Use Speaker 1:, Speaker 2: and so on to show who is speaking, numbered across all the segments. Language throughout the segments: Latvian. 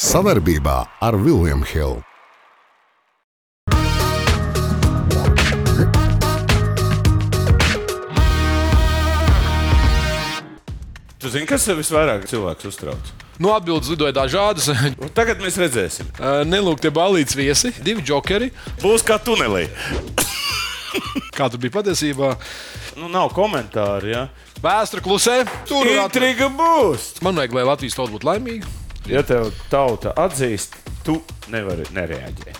Speaker 1: Savaarbībā ar Vilniem Hilu.
Speaker 2: Tu zini, kas tev visvairāk cilvēks uztrauc?
Speaker 3: Nu, Atbildes lidoja dažādas.
Speaker 2: Un Nu, tagad mēs redzēsim.
Speaker 3: Eh, Nelūgtie balīdzes viesi, divi jokeri.
Speaker 2: Būs kā tunelī.
Speaker 3: Kā tur bija patiesībā?
Speaker 2: Nu, nav komentāru. Ja?
Speaker 3: Vēsture klusē. Tur ir atri.
Speaker 2: Intriga būs.
Speaker 3: Man vajag, lai Latvijas tauta būtu laimīga.
Speaker 2: Ja tev tauta atzīst, tu nevari nereaģēt.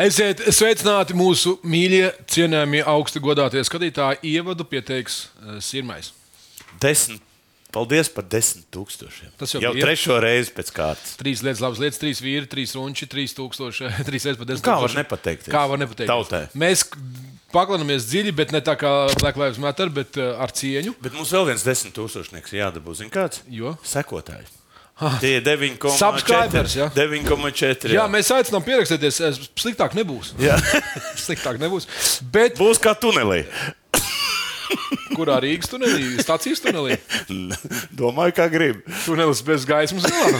Speaker 3: Esiet sveicināti mūsu mīļie, cienījamie, augsti godātie skatītāji. Ievadu pieteiks eh, Sirmais.
Speaker 2: Desmit. Paldies par desmit tūkstošiem.
Speaker 3: Tas jau
Speaker 2: jau
Speaker 3: bija.
Speaker 2: trešo reizi pēc kārtas.
Speaker 3: Trīs lietas, labas lietas, trīs vīri, trīs runči, trīs tūkstoši, eh, trīs reizes pat desmit.
Speaker 2: Kā var
Speaker 3: tūkstoši.
Speaker 2: nepateikt?
Speaker 3: Kā var nepateikt?
Speaker 2: Tautai.
Speaker 3: Mēs paklanamies dziļi, bet ne tā kā Black Lives Matter, bet eh, ar cieņu.
Speaker 2: Bet mums vēl viens desmit tūkstošnieks jādabū. Zini kāds?
Speaker 3: Jo?
Speaker 2: Sekotāji. Tie ir 9,4.
Speaker 3: Subscribers, jā.
Speaker 2: 9,4.
Speaker 3: Jā,
Speaker 2: Jā,
Speaker 3: mēs aicinām pierakstīties. eh, Sliktāk nebūs.
Speaker 2: jā.
Speaker 3: Sliktāk nebūs. Bet
Speaker 2: būs kā tunelī.
Speaker 3: kurā Rīgas tunelī, stācijas tunelī?
Speaker 2: Domāju, kā grib.
Speaker 3: Tunelis bez gaismas galā.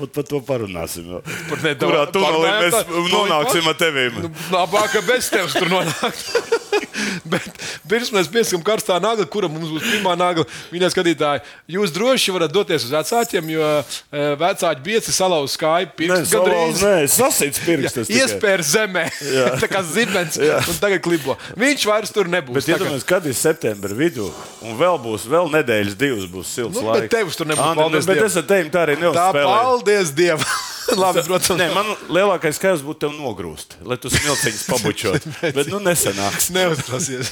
Speaker 2: Un par to parunāsim. vēl.
Speaker 3: Par ne-
Speaker 2: Kurā
Speaker 3: par
Speaker 2: tunelī
Speaker 3: ne-
Speaker 2: mēs
Speaker 3: tā-
Speaker 2: nonāksim ar
Speaker 3: Nu,
Speaker 2: tevīm?
Speaker 3: Labāk, ka bez tevis tur nonākt. Bet pirms mēs pieskam karstā nagla, kura mums būs pirmā nagla, mīļie skatītāji, jūs droši varat doties uz vecākiem, jo eh, vecāki bieci salauza skaipu pirms nu, gandrīz.
Speaker 2: Nē, sasprāst, pirksts.
Speaker 3: Iespējams, zemē. tā kā zibens. Un tagad klibo. Viņš vairs tur nebūs.
Speaker 2: Bet,
Speaker 3: tā
Speaker 2: ja
Speaker 3: kā-
Speaker 2: domājat, kad ir septembris vidū, un vēl būs vēl nedēļas, divas būs silts
Speaker 3: Nu,
Speaker 2: laiks.
Speaker 3: bet tevis tur nebūs,
Speaker 2: Ā, nu,
Speaker 3: paldies
Speaker 2: Bet
Speaker 3: Dievam.
Speaker 2: es ar tevi tā arī
Speaker 3: tā,
Speaker 2: neuzspēlēju.
Speaker 3: paldies Dievam. Labi, protams,
Speaker 2: Nē, man lielākais skaits būtu tev nogrūst, lai tu smilciņus pabučot. Bet nu nesanāks.
Speaker 3: Neuztraucies.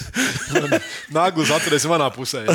Speaker 3: Nāglis atturēs manā pusē.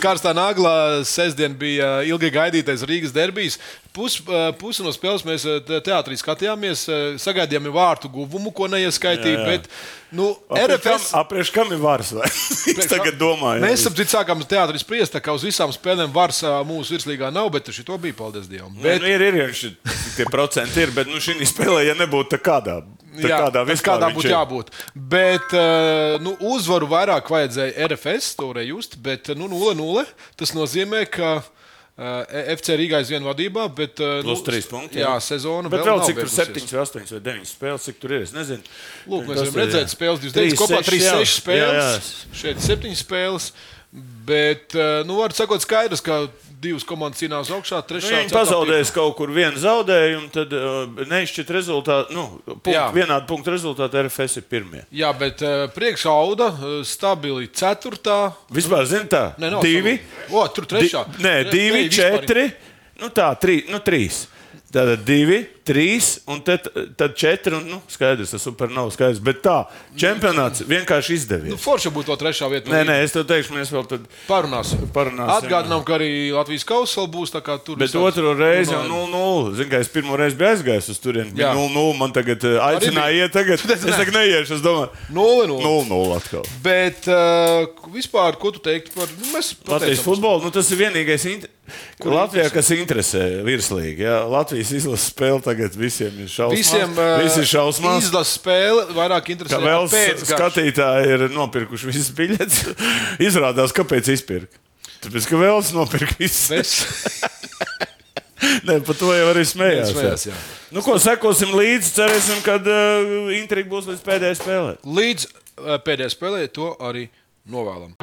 Speaker 3: Karstā naglā sestdien bija ilgi gaidītais Rīgas derbijs. Pus, eh, pusi no spēles mēs eh, te- teātrī skatījāmies, eh, sagaidījām vārtu guvumu, ko neieskaitīja. Bet, nu, RFS.
Speaker 2: Apriekš kam ir vārds? vai? Es tagad domāju.
Speaker 3: Mēs saprotam, sākām teātrī spriest, tā kā uz visām spēlēm vairs mūsu virslīgā nav, bet šī to bija, paldies Dievam.
Speaker 2: Bet...
Speaker 3: Bet,
Speaker 2: Nu, ir, ir, ir šī, tie procenti ir, bet nu, šī spēlē, ja nebūtu tā kādā, tā
Speaker 3: Jā,
Speaker 2: kādā
Speaker 3: tas
Speaker 2: vispār
Speaker 3: kādā
Speaker 2: viņš
Speaker 3: būtu
Speaker 2: ir.
Speaker 3: jābūt. Bet eh, nu, uzvaru vairāk vajadzēja RFS, to varēja just, bet eh, nu, 0-0. Tas nozīmē, ka eh, FC Rīgā aizvien vadībā, bet. eh,
Speaker 2: Plus
Speaker 3: nu,
Speaker 2: trīs punkti.
Speaker 3: Jā, sezona
Speaker 2: Bet vēl,
Speaker 3: nav
Speaker 2: vēl cik tur
Speaker 3: beigusies.
Speaker 2: 7, 8 vai 9 spēles, cik tur ir. Es nezinu.
Speaker 3: Lūk,
Speaker 2: Tas
Speaker 3: mēs varam
Speaker 2: ir, jā.
Speaker 3: redzēt, spēles 29,
Speaker 2: Trīs,
Speaker 3: kopā
Speaker 2: seši,
Speaker 3: 36
Speaker 2: jā. Jā,
Speaker 3: spēles.
Speaker 2: jā.
Speaker 3: Šeit 7 spēles. Bet, eh, nu, var sakot, skaidrs, ka divas komandas cīnās augšā,
Speaker 2: Nu,
Speaker 3: trešā
Speaker 2: ja viņi pazaudēs kaut kur vienu zaudējumu, tad uh, neizšķirt rezultātu. Nu, punkt,
Speaker 3: Jā.
Speaker 2: vienādu punktu rezultātu RFS ir pirmie.
Speaker 3: Jā, bet eh, priekšauda eh, stabili 4.
Speaker 2: Vispār, zini, tā,
Speaker 3: Nē, nav
Speaker 2: divi.
Speaker 3: savu- O, tur trešā.
Speaker 2: Di, nē,
Speaker 3: Tre-
Speaker 2: divi,
Speaker 3: ne, vispār-
Speaker 2: četri. Nu, tā, trī, nu, trīs. Tātad divi, trīs, un tad, tad četri. Un, nu, skaidrs, tas super nav skaidrs. Bet tā, čempionāts vienkārši
Speaker 3: Nu,
Speaker 2: izdevies.
Speaker 3: Forša būtu to trešā vieta.
Speaker 2: Nē, nē, es tev teikšu, mēs vēl tad.
Speaker 3: Parunāsim.
Speaker 2: Parunāsim,
Speaker 3: Atgādinām, ka arī Latvijas kausā būs tā kā tur.
Speaker 2: Bet
Speaker 3: visāds-
Speaker 2: otru reizi jau
Speaker 3: runājam.
Speaker 2: 0-0. Zinu, ka es pirmo reizi biju aizgājis uz turieni.
Speaker 3: Jā.
Speaker 2: Bija 0-0. Man tagad eh, aicināja
Speaker 3: bija.
Speaker 2: iet. Tagad. Es
Speaker 3: Tu nezināji.
Speaker 2: tagad neiešu. Es domāju,
Speaker 3: Nulle, nulle.
Speaker 2: 0-0 atkal.
Speaker 3: Bet uh, vispār, ko tu teiktu par nu, mēs
Speaker 2: Latvijas
Speaker 3: pateicam-
Speaker 2: futbolu nu, tas ir vienīgais, inter... kur Latvijā, kas interesē virslīgi. Jā. Latvijas izlases spēle tagad visiem ir šausmās.
Speaker 3: Visiem eh,
Speaker 2: Visi ir šausmās.
Speaker 3: Izlases spēle vairāk
Speaker 2: Kā
Speaker 3: interesē.
Speaker 2: vēl
Speaker 3: pēc gada.
Speaker 2: skatītāji ir nopirkuši visas biļetes, izrādās, kāpēc izpirka. Tāpēc, ka vēl es nopirku visu.
Speaker 3: Es
Speaker 2: Nē, par to jau arī smējās.
Speaker 3: Smējās, jā.
Speaker 2: Nu, ko sekosim līdzi, cerēsim, kad uh, intriga būs līdz pēdējai spēlē.
Speaker 3: līdz eh, pēdējai spēlē to arī novēlam.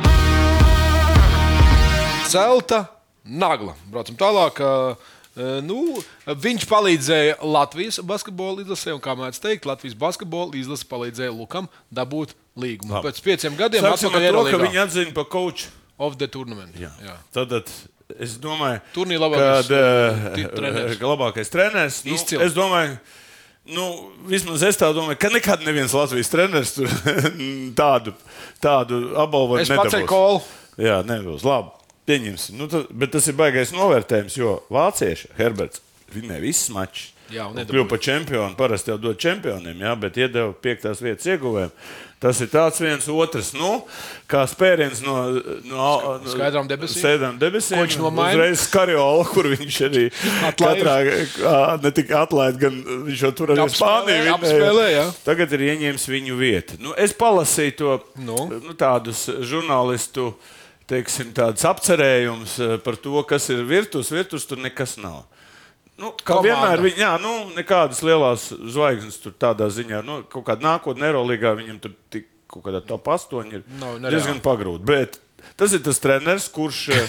Speaker 3: Celta nagla. Braucam tālāk. eh, Nu, viņš palīdzēja Latvijas basketbola izlasē, un, kā mēdz teikt, Latvijas basketbola izlase palīdzēja Lukam dabūt līgumu.
Speaker 2: Labi.
Speaker 3: Labi. Pēc pieciem gadiem
Speaker 2: Sāksim ar to,
Speaker 3: atpakaļ
Speaker 2: ka
Speaker 3: Eirolandā.
Speaker 2: viņi atzina par koču.
Speaker 3: Of the tournament. Jā. Jā.
Speaker 2: Tad es domāju,
Speaker 3: Turnīra labākais,
Speaker 2: kad,
Speaker 3: eh,
Speaker 2: eh,
Speaker 3: treneris.
Speaker 2: ka labākais treneris. Nu,
Speaker 3: Izcili.
Speaker 2: es domāju, nu, vismaz es tā domāju, ka nekad neviens Latvijas treneris tur tādu, tādu apbalvojumu
Speaker 3: Es pats
Speaker 2: nedabūs.
Speaker 3: teicu, kolu.
Speaker 2: Jā, nebūs labi. Pieņemsim. Nu, tad, bet tas ir baisais novērtējums, jo vācieši Herberts vinnēja visas mačus.
Speaker 3: Jā, un
Speaker 2: Un
Speaker 3: nedabūja.
Speaker 2: kļuva par čempionu. Parasti jau dod čempioniem, jā, bet iedeva piektās vietas ieguvēm. Tas ir tāds viens otrs, nu, kā spēriens no, no, no
Speaker 3: Skaidrām debesīm.
Speaker 2: Sēdām debesīm.
Speaker 3: Ko viņš nomaina?
Speaker 2: Uzreiz skariola, kur viņš arī
Speaker 3: Atlaid.
Speaker 2: katrā, ā, ne tikai atlaid, gan viņš jau tur arī
Speaker 3: Apspēlē,
Speaker 2: Spāniju
Speaker 3: apspēlē, jā.
Speaker 2: Tagad ir ieņēmis viņu vietu. Nu, es palasīju to
Speaker 3: Nu?
Speaker 2: nu, tādus žurnālistu teiksim, tāds apcerējums eh, par to, kas ir virtuves. Virtuves tur nekas nav. Nu, kā
Speaker 3: Komanda.
Speaker 2: vienmēr, viņi, jā, nu, nekādas lielas zvaigznes tur tādā ziņā, nu, kaut kāda nākotnē, Eirolandā viņam tur tik kaut kāda top 8 ir
Speaker 3: Nav, nereāli.
Speaker 2: diezgan pagrūti. Bet tas ir tas treneris, kurš. eh,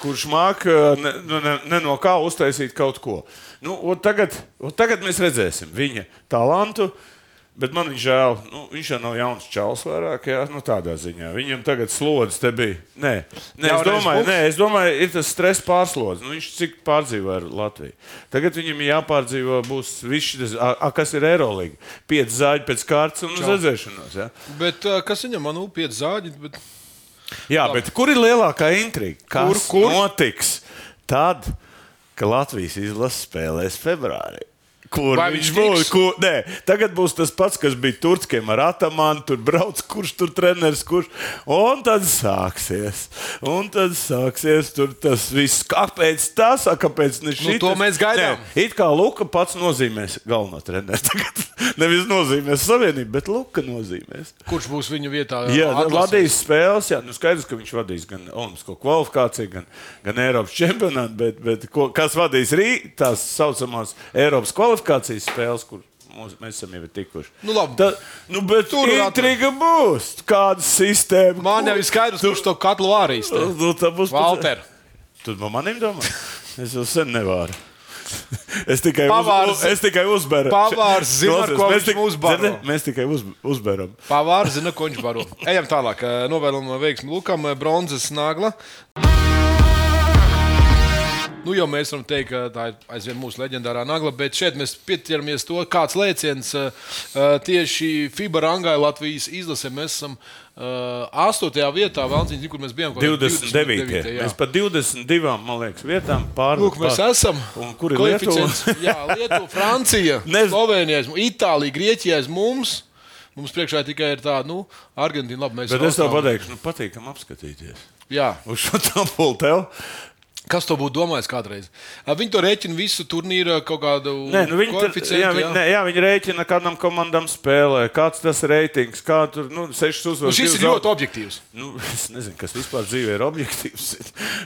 Speaker 2: Kurš māca ne, nu, ne, ne no kā uztaisīt kaut ko. Nu, un tagad, un tagad mēs redzēsim viņa talantu. Bet man viņa žēl, nu, viņš jau nav jauns čels vairāk, jā, nu, tādā ziņā. Viņam tagad slodzi te bija. Nē, nē es,
Speaker 3: Jaunais
Speaker 2: domāju,
Speaker 3: bumps?
Speaker 2: nē, es domāju, ir tas stress pārslodzi. Nu, viņš cik pārdzīvoja ar Latviju. Tagad viņam ir jāpārdzīvo, būs viss šis, a, a, kas ir Eirolandā. Pieci zāģi pēc kārtas un uz redzēšanos. Jā,
Speaker 3: Bet uh, kas viņam, man ir pieci zāģi? Bet...
Speaker 2: jā bet kur ir lielākā intriga? Kas
Speaker 3: Kur, kur?
Speaker 2: notiks tad, kad Latvijas izlase spēlēs februārī? Kur
Speaker 3: Vai
Speaker 2: viņš
Speaker 3: viņš
Speaker 2: būs?
Speaker 3: tiks?
Speaker 2: Kur, nē, tagad būs tas pats, kas bija Turcijam ar Atamānu. Tur brauc, kurš tur treneris, kurš. Un tad sāksies. Un tad sāksies tur tas viss. Kāpēc tas, a, kāpēc ne šis?
Speaker 3: Nu, to mēs gaidām.
Speaker 2: It kā Luka pats nozīmēs galveno treneru. Tagad nevis nozīmēs savienību, bet Luka nozīmēs.
Speaker 3: Kurš būs viņa vietā?
Speaker 2: Jā,
Speaker 3: atlasē?
Speaker 2: vadīs spēles. Jā, nu skaidrs, ka viņš vadīs gan Olimpisko kvalifikāciju, gan, gan Eiropas čempionātu. Bet, bet ko, kas vadīs rīt tās saucamās Eiropas kvalifikācijas spēles, kur mūs, mēs esam jau tikuši?
Speaker 3: Nu, labi.
Speaker 2: Tā, nu, bet
Speaker 3: Tur
Speaker 2: tur intriga būs. Kāda sistēma?
Speaker 3: Man jau ir skaidrs, kurš to katlu vārīs. te.
Speaker 2: Nu, tā būs
Speaker 3: Valter,
Speaker 2: Tur man manim domā. Es jau sen nevaru. Es tikai,
Speaker 3: Pavārs-
Speaker 2: uz, es tikai uzberu.
Speaker 3: Pavārs zina, ar
Speaker 2: Klausies,
Speaker 3: ko
Speaker 2: mēs
Speaker 3: viņš
Speaker 2: tik-
Speaker 3: mūs baro.
Speaker 2: dzirdi? Mēs tikai uz, uzberam.
Speaker 3: pavārs zina, ko viņš baro. Ejam tālāk. Eh, Novēlam veiksmi Lukam, eh, bronzas nagla. Nu, jau mēs varam teikt, ka tā ir aizvien mūsu leģendārā nagla, bet šeit mēs pieķeramies to, kāds lēciens eh, eh, tieši FIBA rangai Latvijas izlasē. Mēs esam eh, astotajā vietā, Valentiņš, kur mēs bijām. kaut kādi
Speaker 2: 29.
Speaker 3: jā.
Speaker 2: Mēs par 22, man liekas, vietām pārlūkojam.
Speaker 3: Lūk, mēs esam.
Speaker 2: Nu, Un kur ir Lietuva?
Speaker 3: Koeficients- Jā, Lietuva, Francija,
Speaker 2: Nez-
Speaker 3: Slovenija, aiz mu- Itālija, Grieķija aiz mums. Mums priekšā ir tikai ir tā, nu, Argentīna. Labi, mēs
Speaker 2: Bet es tev
Speaker 3: raustām.
Speaker 2: pateikšu, nu, patīkam apskatīties.
Speaker 3: Jā.
Speaker 2: Uz šo tabulu tev.
Speaker 3: Kas to būtu domājis kādreiz? Ā, Viņi to rēķina visu turnīru kaut kādu
Speaker 2: Nē, nu, viņi, tur,
Speaker 3: koeficientu,
Speaker 2: jā, viņi, nē, jā, viņi rēķina, kādam komandam spēlē, kāds tas reitings, kā tur, nu, sešas
Speaker 3: Nu,
Speaker 2: uzvaras.
Speaker 3: šis
Speaker 2: divas
Speaker 3: ir ļoti
Speaker 2: zaud-
Speaker 3: objektīvs.
Speaker 2: Nu, es nezinu, kas vispār dzīvē ir objektīvs.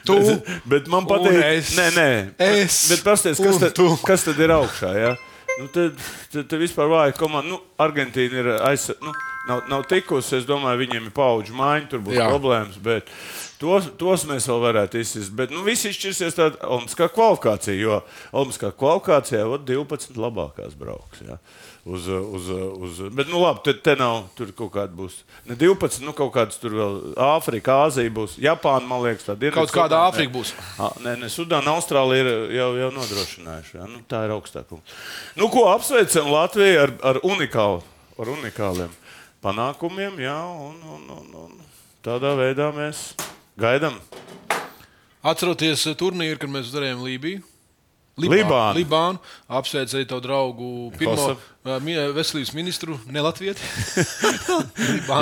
Speaker 3: Tu
Speaker 2: bet, bet man
Speaker 3: un
Speaker 2: patīk.
Speaker 3: es.
Speaker 2: Nē, nē,
Speaker 3: Es
Speaker 2: Bet pasties,
Speaker 3: un
Speaker 2: kas, tad,
Speaker 3: tu.
Speaker 2: kas tad ir augšā? Ja? Nu, tad, tad, tad vispār vāja komanda. Nu, Argentīna ir aizsardzība. Nu, nav, nav tikusi. Es domāju, viņiem ir paudžu maiņa, tur būs
Speaker 3: Jā.
Speaker 2: Jā. problēmas. Bet tos, tos mēs vēl varētu izsist. Bet nu, viss izšķirsies tādā Olimpiskā kvalifikācijā. Jo Olimpiskā kvalifikācijā vot, 12 labākās brauks. Ja? Uz, uz, uz, bet, nu, labi, te, te nav tur kaut kāda būs. Ne 12, nu, kaut kādas tur vēl Āfrika, Āzija būs. Japāna, man liekas, tāda ir.
Speaker 3: Kaut
Speaker 2: Sudāna,
Speaker 3: kāda
Speaker 2: jā.
Speaker 3: Āfrika būs.
Speaker 2: Ā, Nē, ne, Sudāna, Austrālija ir jau, jau nodrošinājuši. Jā. Nu, tā ir augstākā. Nu, ko apsveicam Latviju ar, ar, unikālu, ar unikāliem panākumiem. Jā, un, un, un, un tādā veidā mēs gaidām.
Speaker 3: Atceroties eh, turnīru, kad mēs darījām Lībiju.
Speaker 2: Libānu.
Speaker 3: Libānu. Apsveicu arī tavu draugu, pirmo
Speaker 2: Kosovu.
Speaker 3: eh, mi- veselības ministru, ne Latviju.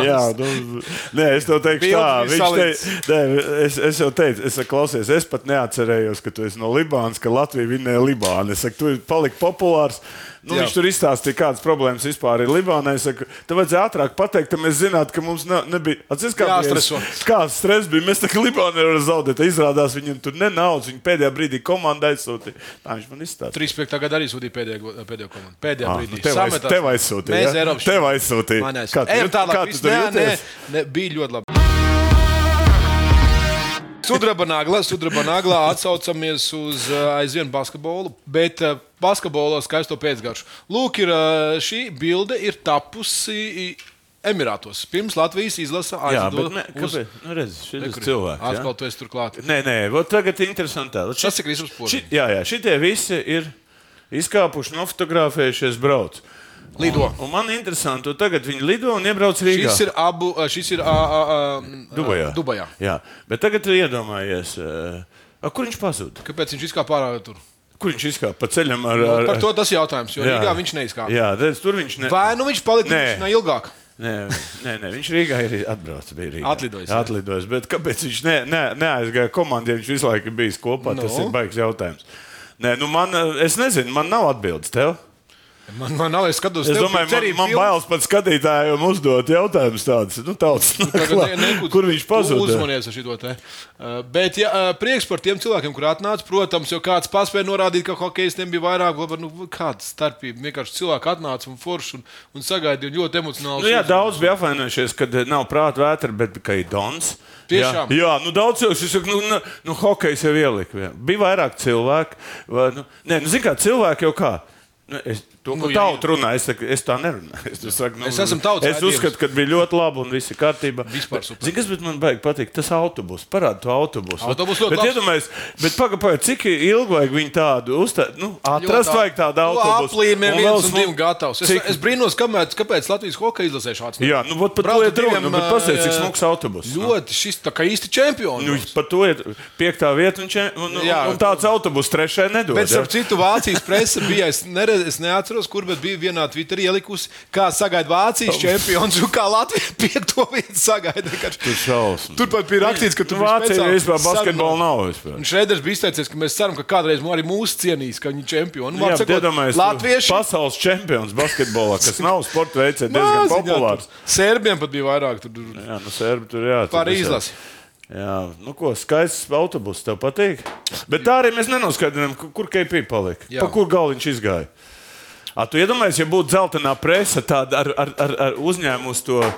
Speaker 2: Jā, nu, nē, es tev teikšu, tā,
Speaker 3: Bildes bija
Speaker 2: viņš
Speaker 3: salīdz.
Speaker 2: teica, nē, es, es jau teicu, es saku, klausies, es pat neatcerējos, ka tu esi no Libānas, ka Latvija vinnēja Libānu. Es saku, tu paliki populārs. Nu,
Speaker 3: Jā.
Speaker 2: viņš tur izstāstīja, kādas problēmas vispār ir Libānai. Es saku, tev vajadzēja ātrāk pateikt, lai mēs zinātu, ka mums ne, nebija. Atcīm kā
Speaker 3: Jāstreso.
Speaker 2: Kāds stress bija? Mēs tā kā Libānai varam zaudēt. Izrādās, viņam tur nenaudas. Viņa pēdējā brīdī komanda aizsūtīja. Tā viņš man izstāstīja.
Speaker 3: 35. gadā arī sūtīja pēdējo, go- pēdējo komandu. Pēdējā
Speaker 2: Ā,
Speaker 3: brīdī.
Speaker 2: nu tev aiz-
Speaker 3: Sametās.
Speaker 2: tev aizsūtīja,
Speaker 3: Mēs
Speaker 2: ja?
Speaker 3: Eiropas
Speaker 2: Tev aizsūtīja.
Speaker 3: Man
Speaker 2: Kā tu
Speaker 3: aizsūtīja. Ejam
Speaker 2: jūt-
Speaker 3: tālāk.
Speaker 2: kā tu
Speaker 3: Viss-
Speaker 2: tur
Speaker 3: nē, nē,
Speaker 2: jūties?
Speaker 3: nē, bija ļoti labi. Sudraba naglā, sudraba naglā atsaucamies uz uh, aizvienu basketbolu, bet uh, basketbolā skaisto pēcgaršu. Lūk, ir, uh, šī bilde ir tapusi Emirātos. Pirms Latvijas izlasa
Speaker 2: Jā,
Speaker 3: aizdo
Speaker 2: bet ne,
Speaker 3: uz
Speaker 2: kāpēc? Nu, redz, šis
Speaker 3: Kur-
Speaker 2: cilvēks. jā?
Speaker 3: Atkal tu esi turklāt.
Speaker 2: Nē, nē, vot tagad ir interesantā. Vot
Speaker 3: Tas ir Kristus
Speaker 2: ši,
Speaker 3: podziņš.
Speaker 2: jā, jā, šitie visi ir izkāpuši, nofotografējušies, brauc.
Speaker 3: Lido.
Speaker 2: Un man interesanti, ka tagad viņi lido un iebrauc Rīgā.
Speaker 3: Šis ir abu, uh, šis ir a, a, a,
Speaker 2: Dubajā.
Speaker 3: Dubajā.
Speaker 2: Jā, bet tagad tu iedomājies, eh, a, kur viņš pazuda?
Speaker 3: Kāpēc viņš izkāpa pārāk tur?
Speaker 2: Kur viņš izkāpa pa ceļam ar, ar
Speaker 3: Nu, Par to tas jautājums, jo jā. Rīgā viņš neizkāpa.
Speaker 2: Jā, redz, tur viņš ne...
Speaker 3: Vai nu viņš palika
Speaker 2: Nē.
Speaker 3: ne ilgāk?
Speaker 2: Nē, nē, nē, viņš Rīgā ir atbraucis. bija Rīgā.
Speaker 3: Atlidojis, jā.
Speaker 2: Atlidojis. Bet kāpēc viņš ne, ne, neaizgāja komandā, ja viņš visu laiku bijis kopā? No. Tas
Speaker 3: Nu?
Speaker 2: ir baigs jautājums. Nē, nu man, eh, es nezinu, man nav atbildes tev.
Speaker 3: Man, man nav, es skatos,
Speaker 2: Es
Speaker 3: tev
Speaker 2: domāju, man,
Speaker 3: cerība
Speaker 2: man
Speaker 3: pilna.
Speaker 2: bailes pat skatītājiem uzdot jautājumus tādus, nu, tauts,
Speaker 3: Tagad ne-
Speaker 2: kā,
Speaker 3: nekūdz-
Speaker 2: kur viņš pazuda.
Speaker 3: Uzmanies ar šo te. Uh, Bet ja, uh, prieks par tiem cilvēkiem, kur atnāca. Protams, jau kāds paspēja norādīt, ka hokeistiem bija vairāk, vai nu, kāda starpība. Vienkārši cilvēki atnāca un forši un, un sagaidīja un ļoti emocionāli.
Speaker 2: Nu, jā,
Speaker 3: sūdzību.
Speaker 2: daudz bija apvainojušies, ka nav prāta vētra, bet ka ir dons.
Speaker 3: Tiešām.
Speaker 2: Jā, jā nu, daudz cilvēku saka, nu, nu, nu hokejs jau ielika. vien. Bija vairāk cilvēku. Vai, nu, nē, nu, zini, kā cilvēki jau kā. Nu, es to nu,
Speaker 3: Nu, jā,
Speaker 2: tautu runāju, es, saku, es tā nerunāju. Es, saku, nu,
Speaker 3: Mēs esam tautas
Speaker 2: Es
Speaker 3: raidījums.
Speaker 2: uzskatu, ka bija ļoti labi un viss ir kārtībā.
Speaker 3: Vispār super.
Speaker 2: Zini, kas bet man baigi patīk? Tas autobus. Parāda to autobusu.
Speaker 3: Autobus ļoti
Speaker 2: bet,
Speaker 3: labs.
Speaker 2: iedomājies, bet pagaidiet, cik ilgi vajag viņu tādu uzstāt? Nu, atrast vajag tādu autobusu.
Speaker 3: Nu, Aplīmē
Speaker 2: Un vēl
Speaker 3: viens un
Speaker 2: smu-
Speaker 3: divi gatavs. Es,
Speaker 2: Cik-
Speaker 3: es brīnos, kāpēc, kāpēc Latvijas hokeja izlasē šāds.
Speaker 2: Jā, nu, vot par to ir
Speaker 3: Braucu
Speaker 2: runa.
Speaker 3: diviem,
Speaker 2: Nu, bet paskatieties, cik
Speaker 3: ā,
Speaker 2: smags autobus. Nu.
Speaker 3: Ļoti šis tā kā īsti čempions.
Speaker 2: Nu, par to ir piekta vieta, un, čem, un, un,
Speaker 3: Jā.
Speaker 2: un tāds autobus trešajā nedod.
Speaker 3: Bet,
Speaker 2: ja?
Speaker 3: starp citu, Vācijas presa bija. Es, neredz, es neatceros, kur, bet bija vienā Twitterī ielikusi, kā sagaida Vācijas čempions un kā Latvija piekto vietu sagaida.
Speaker 2: Tas ir šausmas.
Speaker 3: Turpat bija rakstīts, ka
Speaker 2: Nu,
Speaker 3: tur
Speaker 2: Vācijā vispār basketbola nav.
Speaker 3: Un
Speaker 2: Vispār.
Speaker 3: Šrēders bija izteicies, ka mēs ceram, ka kādreiz mū- arī mūsu cienīs, ka viņi ir čempioni.
Speaker 2: Jā,
Speaker 3: Nu, vārds
Speaker 2: bet
Speaker 3: sakot,
Speaker 2: iedomājieties,
Speaker 3: Latvieši
Speaker 2: pasaules čempions basketbolā, kas nav sports veids, ir diezgan
Speaker 3: Maziņā tur.
Speaker 2: populārs.
Speaker 3: Serbiem pat bija vairāk. Tur.
Speaker 2: Jā, nu, sērbi tur jā. tur
Speaker 3: Par
Speaker 2: visādi.
Speaker 3: izlasi.
Speaker 2: Jā, nu ko, skaists autobus tev patīk. Bet tā arī mēs nenoskaidrojam, ku- kur KP palika.
Speaker 3: Jā.
Speaker 2: Pa kur galu viņš izgāja? A, tu iedomājies, ja būtu dzeltenā presa tāda ar, ar, ar, ar uzņēmumu to uh,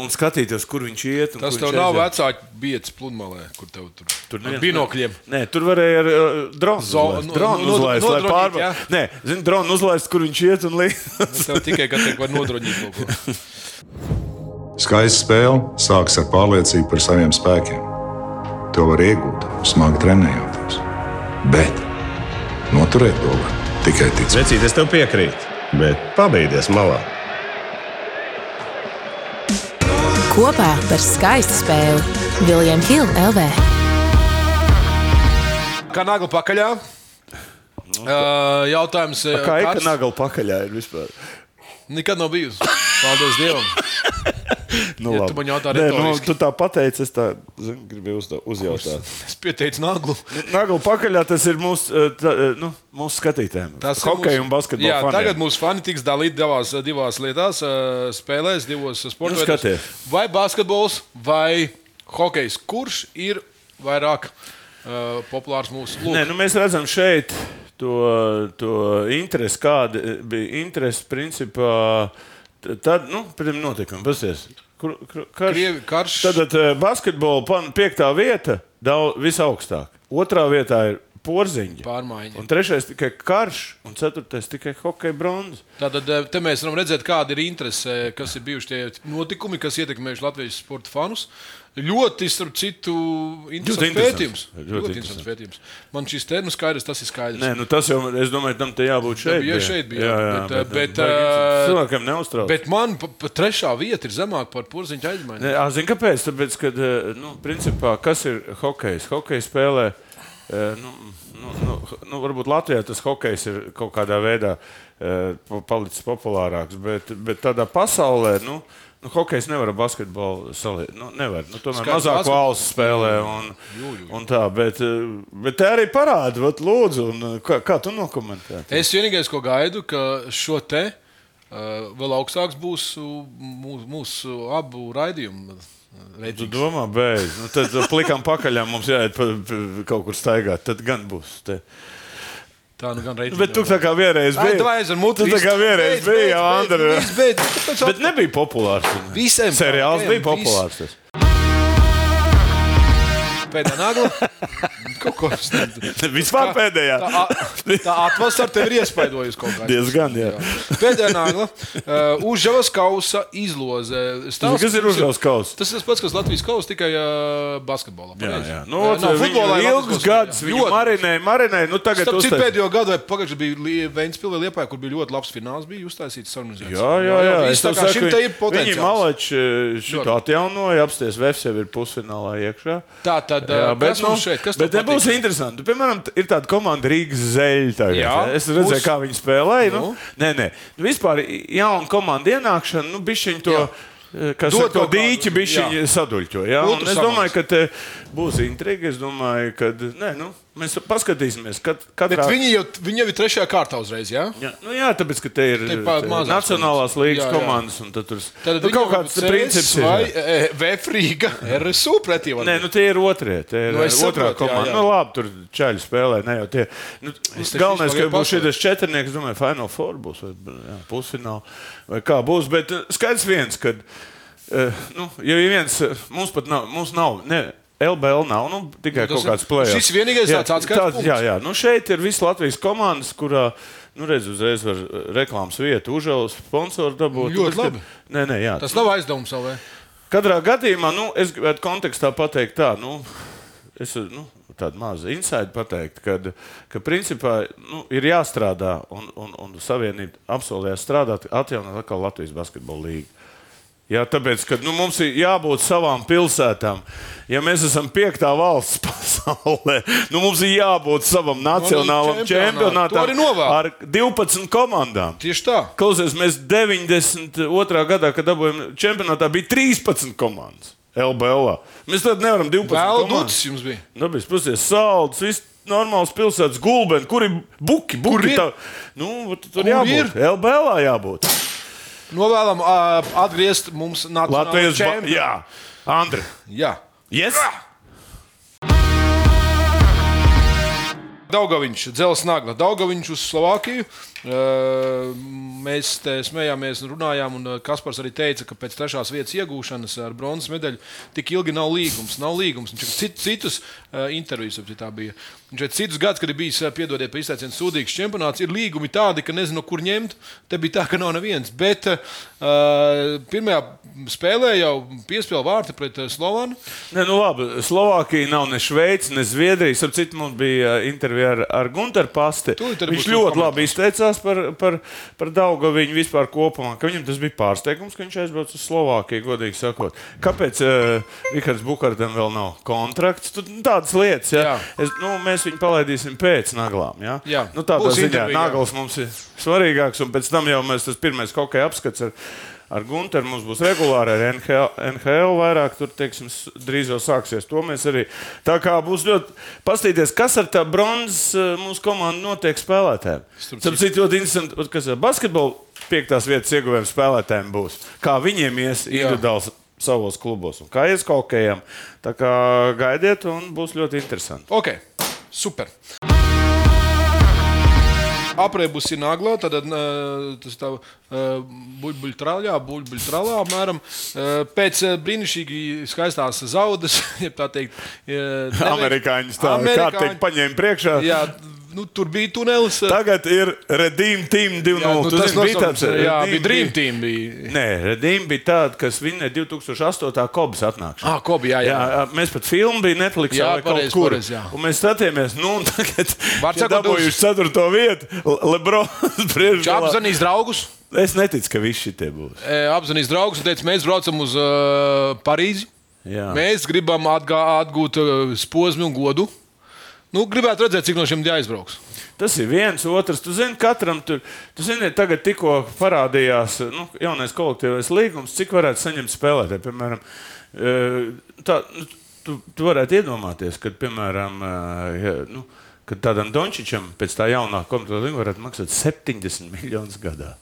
Speaker 2: un skatīties, kur viņš iet. un
Speaker 3: Tas
Speaker 2: kur
Speaker 3: tev
Speaker 2: viņš
Speaker 3: nav
Speaker 2: aiziet.
Speaker 3: vecāki biets pludmalē, kur tev tur
Speaker 2: Tur
Speaker 3: bija
Speaker 2: neviens-
Speaker 3: binokļiem.
Speaker 2: Nē, tur varēja ar uh, dronu
Speaker 3: Zo-
Speaker 2: uzlaist.
Speaker 3: nu,
Speaker 2: Dronu
Speaker 3: nu,
Speaker 2: uzlaist, lai
Speaker 3: nodronīt, jā.
Speaker 2: pārbaudītu. Nē, zini, dronu uzlaist, kur viņš iet un
Speaker 3: Nu,
Speaker 2: līdz.
Speaker 3: Tev tikai, ka tiek var nodrošināt kaut ko.
Speaker 4: Skaista spēle sākas ar pārliecību par saviem spēkiem. To var iegūt, smagi trenējoties. Bet noturēt to var tikai ticēt.
Speaker 5: Vecīt, es tev piekrītu, bet pabeigties malā.
Speaker 6: Kopā par skaistu spēli Viljams Hilde LV.
Speaker 3: Kā nagla pakaļā? Uh, jautājums ir,
Speaker 2: Nu, Kā eka nagla pakaļā ir vispār?
Speaker 3: Nekad nav bijusi. Paldies Dievam.
Speaker 2: Nu,
Speaker 3: Ja tu
Speaker 2: labi.
Speaker 3: man jautā
Speaker 2: Nē, nu,
Speaker 3: retoriski.
Speaker 2: tu tā pateici, es tā zini, gribēju uzda- uzjautāt.
Speaker 3: Es pieteicu naglu.
Speaker 2: Nagla pakaļā tas ir mūsu, eh, tā, eh, nu, mūsu skatītājiem.
Speaker 3: Tas
Speaker 2: Tas
Speaker 3: ir
Speaker 2: ir hockey
Speaker 3: mūsu-
Speaker 2: un basketbols.
Speaker 3: Jā, tagad mūsu fani tiks dalīti divās, divās lietās, eh, spēlēs, divos sporta
Speaker 2: Nu, skaties.
Speaker 3: Vai basketbols vai hokejs? Kurš ir vairāk uh, populārs
Speaker 2: Nē,
Speaker 3: mūsu klubā?
Speaker 2: nu, mēs redzam šeit to, to interesi, kāda bija interese principā. t- Tad, nu, pirms notikuma, pasies. Kur, kur, karš.
Speaker 3: Krievi- karš.
Speaker 2: Tad eh, basketbola pan- piektā vieta daudz visaugstāk. Otrā vietā ir porziņa.
Speaker 3: Pārmaiņa.
Speaker 2: Un trešais tikai karš, un ceturtais tikai hockey bronzas.
Speaker 3: Tātad eh, te mēs varam redzēt, kāda ir interese, kas ir bijuši tie notikumi, kas ietekmējuši Latvijas sporta fanus. Ļoti, starp citu, interesants pētījums.
Speaker 2: interesants. Ļoti
Speaker 3: Ļoti interesants pētījums. Man šis te nu skaidrs, tas ir skaidrs.
Speaker 2: Nē, nu tas jau, es domāju, tam te jābūt šeit.
Speaker 3: bija šeit bija,
Speaker 2: jā, jā,
Speaker 3: jā.
Speaker 2: bet,
Speaker 3: Bet, eh,
Speaker 2: bet,
Speaker 3: bet, eh,
Speaker 2: cilvēkiem neuztrauc.
Speaker 3: Bet man pa, pa trešā vieta ir zemāka par porziņu aizmaiņu.
Speaker 2: Nē, Zinu, kāpēc? Tāpēc, ka, nu, principā, kas ir hokejs? Hokejs spēlē, eh, nu, nu, nu, nu, varbūt Latvijā tas hokejs ir kaut kādā veidā eh, pa- palicis populārāks, bet, bet tādā pasaulē, nu, nu hokejs nevar ar basketbolu salīdzināt. Nu, nevar. Nu, tomēr
Speaker 3: Skaidrs,
Speaker 2: mazāk
Speaker 3: basketbolu-
Speaker 2: valsts spēlē un, un tā, bet, eh, bet te arī parāda, vat, lūdzu, un, eh, kā, kā tu nokomentēji?
Speaker 3: Es vienīgais, ko gaidu, ka šo te uh, vēl augstāks būs uh, mūsu, mūsu abu raidījumu eh,
Speaker 2: Tu
Speaker 3: reitings.
Speaker 2: domā, beidz. Nu, tad plikām pakaļ, mums jāiet pa, pa, kaut kur staigāt. Tad gan būs. Te.
Speaker 3: Tā nu gan
Speaker 2: Nu,
Speaker 3: reitings.
Speaker 2: Bet tu tā kā vienreiz
Speaker 3: Ai,
Speaker 2: biji.
Speaker 3: davai aiz ar muti,
Speaker 2: Tu tā
Speaker 3: viss.
Speaker 2: kā vienreiz
Speaker 3: Beidz,
Speaker 2: biji,
Speaker 3: beidz,
Speaker 2: jā, Andri.
Speaker 3: beidz, beidz, beidz. Tāpēc
Speaker 2: Bet nebija populārs. un-
Speaker 3: Visiem
Speaker 2: Seriāls
Speaker 3: pārējiem,
Speaker 2: bija populārs. tas.
Speaker 3: pēdējā nagla. Kaut ko es nezinu.
Speaker 2: Vispār
Speaker 3: Tā,
Speaker 2: pēdējā.
Speaker 3: a- tā atmosfēra tev ir iespaidojusi kaut kādā
Speaker 2: Diezgan, jā.
Speaker 3: Pēdējā nagla. Uh, Užavas kausa izloze. Stāsts,
Speaker 2: Kas ir uzdevis kaus?
Speaker 3: Tas ir tas pats, kas Latvijas kausā, tikai uh, basketbolā.
Speaker 2: Jā,
Speaker 3: pareizi. Eh,
Speaker 2: jā. Nu,
Speaker 3: nav
Speaker 2: no, futbolā
Speaker 3: ir
Speaker 2: ilgus
Speaker 3: Latvijas kausā,
Speaker 2: gadus
Speaker 3: jā.
Speaker 2: viņu
Speaker 3: Ļoti.
Speaker 2: marinēja, marinēja. Nu, tagad
Speaker 3: Starp citu,
Speaker 2: uztaisīja.
Speaker 3: pēdējo gadu pagājušajā bija Vēnspilsē, Lietpā, kur bija ļoti labs fināls, bija uztaisīts sarunizācijas.
Speaker 2: Jā, jā, jā.
Speaker 3: viss
Speaker 2: es tev
Speaker 3: tā kā
Speaker 2: saku,
Speaker 3: šim te ir
Speaker 2: Viņi
Speaker 3: potenciāls.
Speaker 2: malači šo
Speaker 3: Ļoti.
Speaker 2: atjaunoja, apsties, Vefs jau ir pusfinālā iekšā.
Speaker 3: Tā tad, jā, bet, kas
Speaker 2: nu,
Speaker 3: mums šeit? Kas
Speaker 2: bet
Speaker 3: tev
Speaker 2: te būs
Speaker 3: patīk?
Speaker 2: interesanti. Piemēram, t- ir tāda komanda Rīgas zeļa. Tagad,
Speaker 3: Jā,
Speaker 2: jā, es redzēju,
Speaker 3: būs.
Speaker 2: būs. kā viņi spēlēja. Nu.
Speaker 3: Nu.
Speaker 2: Nē, nē, nu, vispār jauna komanda ienākšana, nu, bišķiņi to. e,
Speaker 3: Jā.
Speaker 2: Kas
Speaker 3: Dod
Speaker 2: ir to
Speaker 3: kaut kādu-
Speaker 2: dīķi, bija šī
Speaker 3: jā.
Speaker 2: saduļķo. Jā,
Speaker 3: Kultu
Speaker 2: Un es
Speaker 3: samaks.
Speaker 2: domāju, ka te būs intriga. Es domāju, ka nē, nu, Mēs paskatīsimies, kad
Speaker 3: Bet
Speaker 2: katrā...
Speaker 3: viņi jau, viņi jau ir trešajā kārtā uzreiz. Ja?
Speaker 2: Jā, nu jā, tāpēc, ka te ir
Speaker 3: Te pat
Speaker 2: te
Speaker 3: mazās
Speaker 2: Nacionālās līnijas
Speaker 3: Jā, jā.
Speaker 2: komandas, un tad tur
Speaker 3: Tad
Speaker 2: nu,
Speaker 3: viņi
Speaker 2: kaut
Speaker 3: jau
Speaker 2: kāds
Speaker 3: CS
Speaker 2: princips ir.
Speaker 3: vai e, Vēfrīga RSU pretī. vai
Speaker 2: Nē,
Speaker 3: ne?
Speaker 2: nu tie ir otrie. Tie ir
Speaker 3: Nu,
Speaker 2: nu,
Speaker 3: es
Speaker 2: otrā
Speaker 3: saprotu, jā,
Speaker 2: komanda.
Speaker 3: jā.
Speaker 2: Nu, labi, tur čaļi spēlē. Ne, jau tie. Nu,
Speaker 3: Es taču
Speaker 2: galvenais,
Speaker 3: vispār
Speaker 2: ka būs
Speaker 3: pasaku.
Speaker 2: šis četrnieks, domāju, Final Four būs vai jā, pusfināls vai kā būs. Bet eh, skaidrs viens, ka eh, nu, ja ir viens, eh, mums pat nav, mums nav. Ne, LBL nav nu, tikai
Speaker 3: Nu, tas
Speaker 2: kaut
Speaker 3: ir-
Speaker 2: kāds plēsoņš.
Speaker 3: šis vienīgais tāds atskaites punkts.
Speaker 2: Jā, jā, nu šeit ir visas Latvijas komandas, kurā, nu, redz, uzreiz var eh, reklāmas vietu, uzēlu sponsoru dabūt.
Speaker 3: Nu, Ļoti
Speaker 2: Tāpēc, ka-
Speaker 3: labi.
Speaker 2: Nē, nē, jā.
Speaker 3: Tas nav aizdevums savai.
Speaker 2: Katrā gadījumā, nu, es gribētu kontekstā pateikt, tā, nu, es, nu, tādu mazu insāļu pateikt, kad, ka principā nu, ir jāstrādā, un, un, un savienība apsolījās strādāt, atjaunot atkal Latvijas basketbola līniju. Jā, tāpēc, ka nu, mums ir jābūt savām pilsētām. Ja mēs esam piektā valsts pasaulē, nu, mums ir jābūt savam nacionālam
Speaker 3: čempionātam. To
Speaker 2: čempionātam
Speaker 3: arī novēlu.
Speaker 2: ar 12 komandām.
Speaker 3: Tieši tā.
Speaker 2: Klausies, mēs 92. gadā, kad dabūjām čempionātā, bija 13 komandas LBL. Mēs tad nevaram 12
Speaker 3: Vēl
Speaker 2: komandas.
Speaker 3: dūcis jums bija.
Speaker 2: Nu, bija spēcīgs salds, viss normāls pilsētas gulbens, kur ir buki,
Speaker 3: Kur
Speaker 2: buki.
Speaker 3: ir?
Speaker 2: Tā, nu, vat tur
Speaker 3: Kur
Speaker 2: jābūt. LBL jābūt.
Speaker 3: Novēlam ā, atgriezt mums nacionālo
Speaker 2: Latvijas ba-
Speaker 3: čempionu.
Speaker 2: Jā, Andri.
Speaker 3: Jā.
Speaker 2: Yes?
Speaker 3: Daugaviņš, dzelzs nagla, Daugaviņš uz Slovākiju. Eh, Mēs te smējāmies un runājām, un eh, Kaspars arī teica, ka pēc trešās vietas iegūšanas ar bronzas medaļu tik ilgi nav līgums. Nav līgums. Viņš ir cit, citus eh, intervijas, ap cik tā bija. Viņš ir citus gadus, kad ir bijis, eh, piedodiet, pa izteicienu sūdīgs čempionāts, ir līgumi tādi, ka nezinu, no kur ņemt. Te bija tā, ka nav neviens. Bet eh, pirmajā spēlē jau piespēlēja vārti pret eh, Slovānu.
Speaker 2: Nē, nu labi. Slovākija nav ne Šveice, ne Zviedrija. Ar citu mums bija ā, intervija ar, ar Gunteru Pasti.
Speaker 3: Tūlīt arī
Speaker 2: Viņš
Speaker 3: būs
Speaker 2: ļoti
Speaker 3: komentārs.
Speaker 2: labi izteicās par, par, par Daugaviņu vispār kopumā. ka Viņam tas bija pārsteigums, ka viņš aizbrauca uz Slovākiju, godīgi sakot. Kāpēc uh, Rikards Bukārtam vēl nav kontrakts? Tur nu, tādas lietas, ja.
Speaker 3: Jā.
Speaker 2: Es, nu, mēs viņu palaidīsim pēc naglām. Ja?
Speaker 3: Jā.
Speaker 2: Nu, tādā
Speaker 3: Būs
Speaker 2: ziņā
Speaker 3: intervija, jā.
Speaker 2: nagls mums ir svarīgāks, un pēc tam jau mēs tas pirmais kaut kā apskats. Ar, Ar Gunteru mums būs regulāri, ar NHL, NHL vairāk tur teiksim, s- drīz jau sāksies. To mēs arī. Tā kā būs ļoti. Paskatīties, kas ar tā bronzas eh, mūsu komandu notiek spēlētājiem.
Speaker 3: Starp
Speaker 2: Starp citu, ļoti interesanti, ot, kas ar basketbolu piektās vietas ieguvējiem spēlētājiem būs. Kā viņiem ies individuāli savos klubos un kā ies kaut kādiem. Tā kā gaidiet, un būs ļoti interesanti.
Speaker 3: Ok, super. Apreibus ir nagla, tad eh, tas tā eh, buļbuļtrālā, buļbuļtrālā apmēram. Eh, Pēc eh, brīnišķīgi skaistās zaudas, ja tā teikt, eh, neveiks-
Speaker 2: Amerikāņus tā kārtīgi paņēma priekšā.
Speaker 3: Jā, nu, tur bija tunelis. eh,
Speaker 2: Tagad ir Redeem Team 2.0.
Speaker 3: jā, nu,
Speaker 2: Tu
Speaker 3: tas
Speaker 2: zini, bija
Speaker 3: nosaukums,
Speaker 2: tāds
Speaker 3: jā,
Speaker 2: Redeem
Speaker 3: bija
Speaker 2: Team.
Speaker 3: Dream Team. Bija.
Speaker 2: Nē, Redeem bija tāda, kas vinnēja 2008. kobas atnākšanu.
Speaker 3: Ah, Kobi, jā, jā.
Speaker 2: Jā, mēs pat filmu bijām Netflix
Speaker 3: Jā,
Speaker 2: vai kaut
Speaker 3: pareizi,
Speaker 2: kur.
Speaker 3: pareizi, jā.
Speaker 2: Un mēs skatījāmies, nu, un tagad
Speaker 3: Var
Speaker 2: ja
Speaker 3: sakot,
Speaker 2: dabūjuši
Speaker 3: uz-
Speaker 2: ceturto vietu. Le- Lebrons
Speaker 3: Viņš
Speaker 2: priekšā.
Speaker 3: apzvanīs draugus,
Speaker 2: Es neticu, ka visi šitie būs.
Speaker 3: eh, apzvanīs draugus un teica, mēs braucam uz eh, Parīzi.
Speaker 2: Jā.
Speaker 3: Mēs gribam atgā, atgūt uh, posmu un godu. Nu, gribētu redzēt, cik no šiem jāizbrauks.
Speaker 2: Tas ir viens, otrs. Tu zini, katram tur, tu zini, tagad tikko parādījās nu, jaunais kolektīvais līgums, cik varētu saņemt spēlētāji. Piemēram, e, tā, nu, tu, tu varētu iedomāties, ka, piemēram, e, ja, nu, kad tādam Dončičam pēc tā jaunā komandas līguma varētu maksāt 70 miljonus gadā.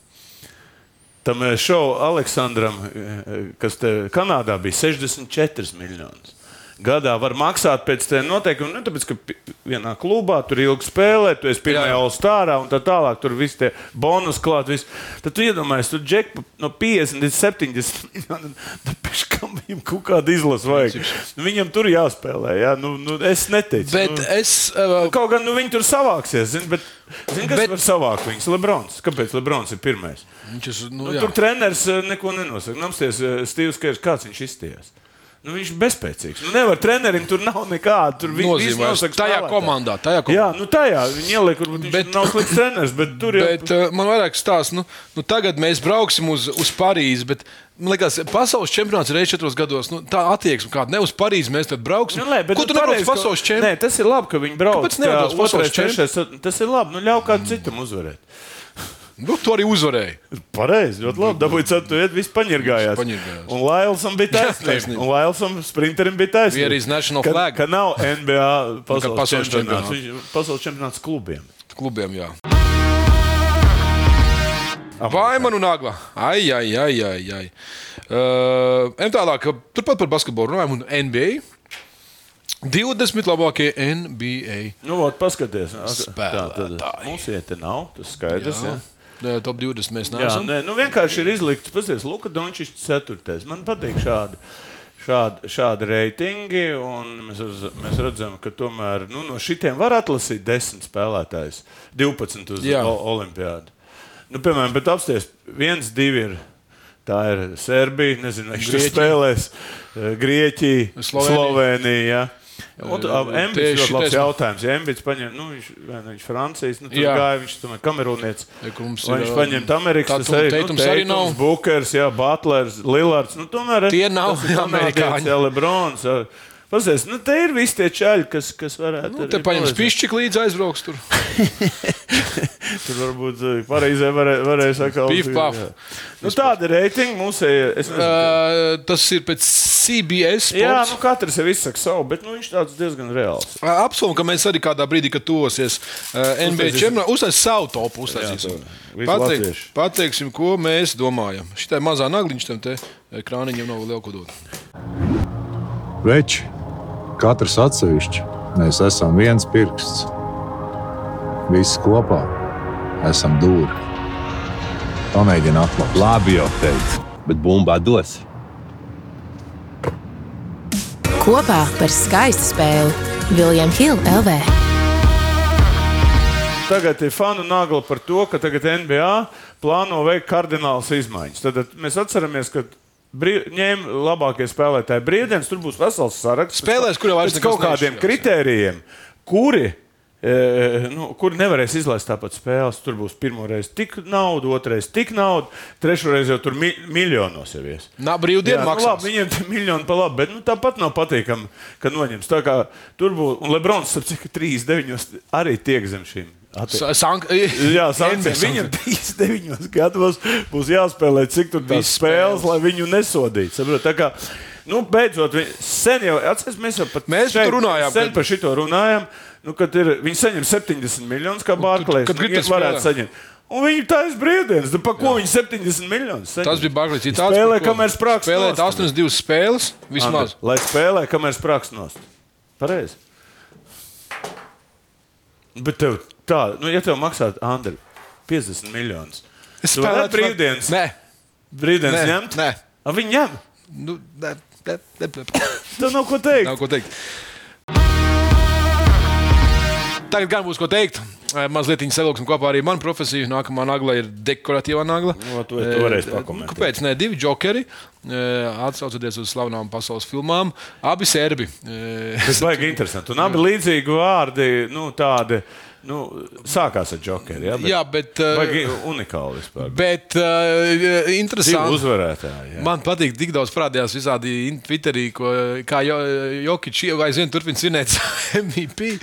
Speaker 2: Tam e, šovam Aleksandram, e, kas te Kanādā bija 64 miljonus. Gadā var maksāt pēc tiem noteikumiem, nu, tāpēc, ka pi- vienā klubā tur ilgi spēlē, tu esi pirmā
Speaker 3: Jā.
Speaker 2: All-Starā un tā tālāk, tur viss tie bonus klāt. Viss. Tad tu iedomājies, tur džekpa no 50 līdz 70 miljoniem, tāpēc, kam viņam kaut kāda izlase vajag. Nu, viņam tur jāspēlē, jā, nu, nu, es neteicu.
Speaker 3: Bet
Speaker 2: nu.
Speaker 3: es. Uh,
Speaker 2: Kaut gan nu, viņi tur savāksies, zin, bet zin, kas
Speaker 3: Bet-
Speaker 2: bet... var savākt viņus? Lebrons. Kāpēc Lebrons ir pirmais?
Speaker 3: viņš, es- nu,
Speaker 2: Nu,
Speaker 3: jā.
Speaker 2: tur treneris eh, neko nenosaka. Namsties eh, Stīvs Kērs, kāds viņš izties. Nu, viņš ir bezspēcīgs. Nu, nevar trenerim tur nav nekāda. Tur viņš
Speaker 3: Nozīmē, tajā komandā, tajā komandā.
Speaker 2: Jā, nu tajā viņa ieliek, kur viņš
Speaker 3: Bet-
Speaker 2: bet, nav slikts treneris, bet tur jau
Speaker 3: Bet, uh, man vairāk stāsta, nu, nu tagad mēs brauksim uz, uz Parīzi. Bet, man liekas, pasaules čempionāts reizes četros gados. Nu, tā attieksme kāda ne uz Parīzi mēs tad brauksim.
Speaker 2: Nu, nē, bet
Speaker 3: Ko tu
Speaker 2: pareizi,
Speaker 3: nebrauc uz pasaules
Speaker 2: ka- Nē,
Speaker 3: čempionātu?
Speaker 2: tas ir labi, ka viņi brauc.
Speaker 3: Kāpēc nebrauc
Speaker 2: kā
Speaker 3: pasaules
Speaker 2: otrais, trešais, Tas ir labi. Nu, ļauj kādam citam uzvarēt.
Speaker 3: Nu, tu arī uzvarēji.
Speaker 2: Pareizi, ļoti labi. Dabūjāt, ka tu viss paņirgājās.
Speaker 3: Paņirgājās.
Speaker 2: Un Lailsam bija taisnība.
Speaker 3: taisnība.
Speaker 2: Un Lailsam sprinterim bija taisnība.
Speaker 3: Here is national
Speaker 2: ka,
Speaker 3: flag.
Speaker 2: Ka nav NBA pasaules,
Speaker 3: Nu, pasaules
Speaker 2: pasaules čempionāts.
Speaker 3: čempionāts.
Speaker 2: Viņš- Pasaules čempionāts klubiem.
Speaker 3: Klubiem, jā.
Speaker 2: Ah.
Speaker 3: Vaimanu un Nāglā. Ai, ai, ai, ai. ai. Uh, ejam tālāk, turpat par basketbolu runājam un NBA. 20 labākie NBA.
Speaker 2: Nu, vot, paskaties. Tā, tad
Speaker 3: Spēlētāji.
Speaker 2: mums iete nav, tas skaidrs. Jā.
Speaker 3: Jā.
Speaker 2: Jā.
Speaker 3: Nē, Top 20 mēs
Speaker 2: Jā,
Speaker 3: neesam.
Speaker 2: nē, nu vienkārši ir izlikts, paskatieties, Luka Dončis 4. Man patīk šādi. Šādi, šādi reitingi, un mēs, uz- mēs redzam, ka tomēr nu, no šitiem var atlasīt 10 spēlētājus, 12 uz
Speaker 3: Jā.
Speaker 2: o- olimpiādu. Nu, piemēram, bet apstāties, viens, divi ir. Tā ir Serbija, nezinu, vai viņš tur
Speaker 3: Grieķija.
Speaker 2: spēlēs, eh, Grieķija,
Speaker 3: Slovenija.
Speaker 2: Slovenija. jā. Un tu- ab- Embits
Speaker 3: Tieši
Speaker 2: ļoti labs
Speaker 3: taisnība.
Speaker 2: jautājums. Ja Embits paņem, nu, viņš, vai nu viņš Francijas, nu, tur
Speaker 3: Jā.
Speaker 2: gāja, viņš tomēr kamerūnietis.
Speaker 3: Ja, ka mums
Speaker 2: Vai
Speaker 3: ir,
Speaker 2: viņš
Speaker 3: um,
Speaker 2: paņem Amerikas,
Speaker 3: Tatum-
Speaker 2: tas arī,
Speaker 3: Tatums arī nav.
Speaker 2: Bookers, nu, jā, Butlers, Lillards. Nu, tomēr
Speaker 3: Tie nav
Speaker 2: tas ir kanādietis,
Speaker 3: amerikāņi.
Speaker 2: Jā, Lebrons. jā. Pazies, nu, te ir visi tie čaļi, kas, kas varētu.
Speaker 3: Nu,
Speaker 2: arī
Speaker 3: te paņems
Speaker 2: palīdzēt.
Speaker 3: pišķi, līdz aizbrauks tur.
Speaker 2: Tur varbūt eh, Parīzē varē- varēja sakot,
Speaker 3: Pif, paf.
Speaker 2: Nu, tāda ir reitinga mums. eh, es nezinu,
Speaker 3: Uh, tas ir pēc CBS.
Speaker 2: Jā,
Speaker 3: sports.
Speaker 2: nu katrs sev izsaka savu, bet nu, viņš tāds diezgan reāls.
Speaker 3: Apsolu, ka mēs arī kādā brīdī, kad tosies uh, NBA
Speaker 2: Uztaisīsim.
Speaker 3: čempionātā, uztaisīsim savu topu. Uztaisīsim.
Speaker 2: Jā, tā. Visi latvieši.
Speaker 3: pateiksim, ko mēs domājam. Šitai mazā nagliņš tam te eh, krāniņam nav liela ko dot.
Speaker 4: Veči, katrs atsevišķi, mēs esam viens pirksts. Visi kopā esam dūri. Pamēģini atlapt.
Speaker 5: Labi, jau teicu, bet bumbā dos.
Speaker 6: Kopā par skaistu spēli Viljams Hilde LV.
Speaker 2: Tagad ir fanu nagla par to, ka tagad NBA plāno veikt kardinālas izmaiņas. Tad tad mēs atceramies, ka brī- ņēma labākie spēlētāji brīvdienas, tur būs vesels saraksts.
Speaker 3: Spēlēs, kuriem vairs
Speaker 2: Pēc
Speaker 3: nekas
Speaker 2: kaut kādiem
Speaker 3: nešķiras, jā.
Speaker 2: kritērijiem, kuri. e, Nu, kur nevarēs izlaist tāpat spēles. Tur būs pirmoreiz tik nauda, otrreiz tik nauda, trešoreiz jau tur mi miljonos jau ies.
Speaker 3: Nā, brīvdiena
Speaker 2: nu
Speaker 3: maksā.
Speaker 2: labi, viņiem ir miljoni pa labi, bet nu, tāpat nav patīkami, ka noņems. Tā kā tur būs, un Lebrons, ap cik 3,9 arī tiek zem šīm. attie- Jā, sankcija. Viņam 39 gados būs jāspēlē, cik tur bija
Speaker 3: Viss
Speaker 2: spēles,
Speaker 3: spēles.
Speaker 2: lai viņu nesodītu. saprot? Tā kā, Nu, beidzot, vi- sen jau, atceries, mēs jau pat
Speaker 3: Mēs par
Speaker 2: šeit
Speaker 3: to runājām,
Speaker 2: Sen
Speaker 3: kad-
Speaker 2: par šito runājām, nu, kad ir, viņi saņem 70 miljonus, kā Bārklēs.
Speaker 3: kad Gritas
Speaker 2: varētu
Speaker 3: spēlē.
Speaker 2: saņemt. Un viņi taisa brīvdienas. Nu, pa ko viņi 70 miljonus saņem?
Speaker 3: Tas bija Barklīs.
Speaker 2: Spēlē, kamēr sprākst.
Speaker 3: Spēlēt
Speaker 2: nost.
Speaker 3: 82 spēles vismaz.
Speaker 2: Andri, Lai spēlē, kamēr sprākst nost. Pareizi. Bet tev tā, nu, ja tev maksā, Andri, 50 miljonus.
Speaker 3: Es
Speaker 2: Tu vari
Speaker 3: spēlētu-
Speaker 2: brīvdienas.
Speaker 3: Nē,
Speaker 2: Brīvdienas
Speaker 3: Nē,
Speaker 2: ņemt?
Speaker 3: nē.
Speaker 2: A, viņi ņem.
Speaker 3: nu, nē, nē, nē, nē.
Speaker 2: Tev nav ko teikt.
Speaker 3: Nav ko teikt. Tagad gan būs ko teikt. Eh, Mazliet viņa savilksim kopā arī manu profesiju. Nākamā nagla ir dekoratīvā nagla.
Speaker 2: No, Nu, to- to varēs
Speaker 3: Eh,
Speaker 2: pakomentēt.
Speaker 3: Kāpēc? Nē, divi jokeri. eh, Atsaucoties uz slavenām pasaules filmām, abi serbi. eh,
Speaker 2: Tas baigi interesanti. Un abi līdzīgi vārdi, nu, tādi, nu, sākās ar džokeru. Ja, bet
Speaker 3: Jā, bet. eh,
Speaker 2: Baigi unikāli vispār.
Speaker 3: Bet eh,
Speaker 2: Divi
Speaker 3: interesanti.
Speaker 2: uzvarētāji. jā.
Speaker 3: Man patīk, tik daudz parādījās visādi in- Twitterī, ko, kā Jokičs jau aizvien turpina svinēt savu MVP.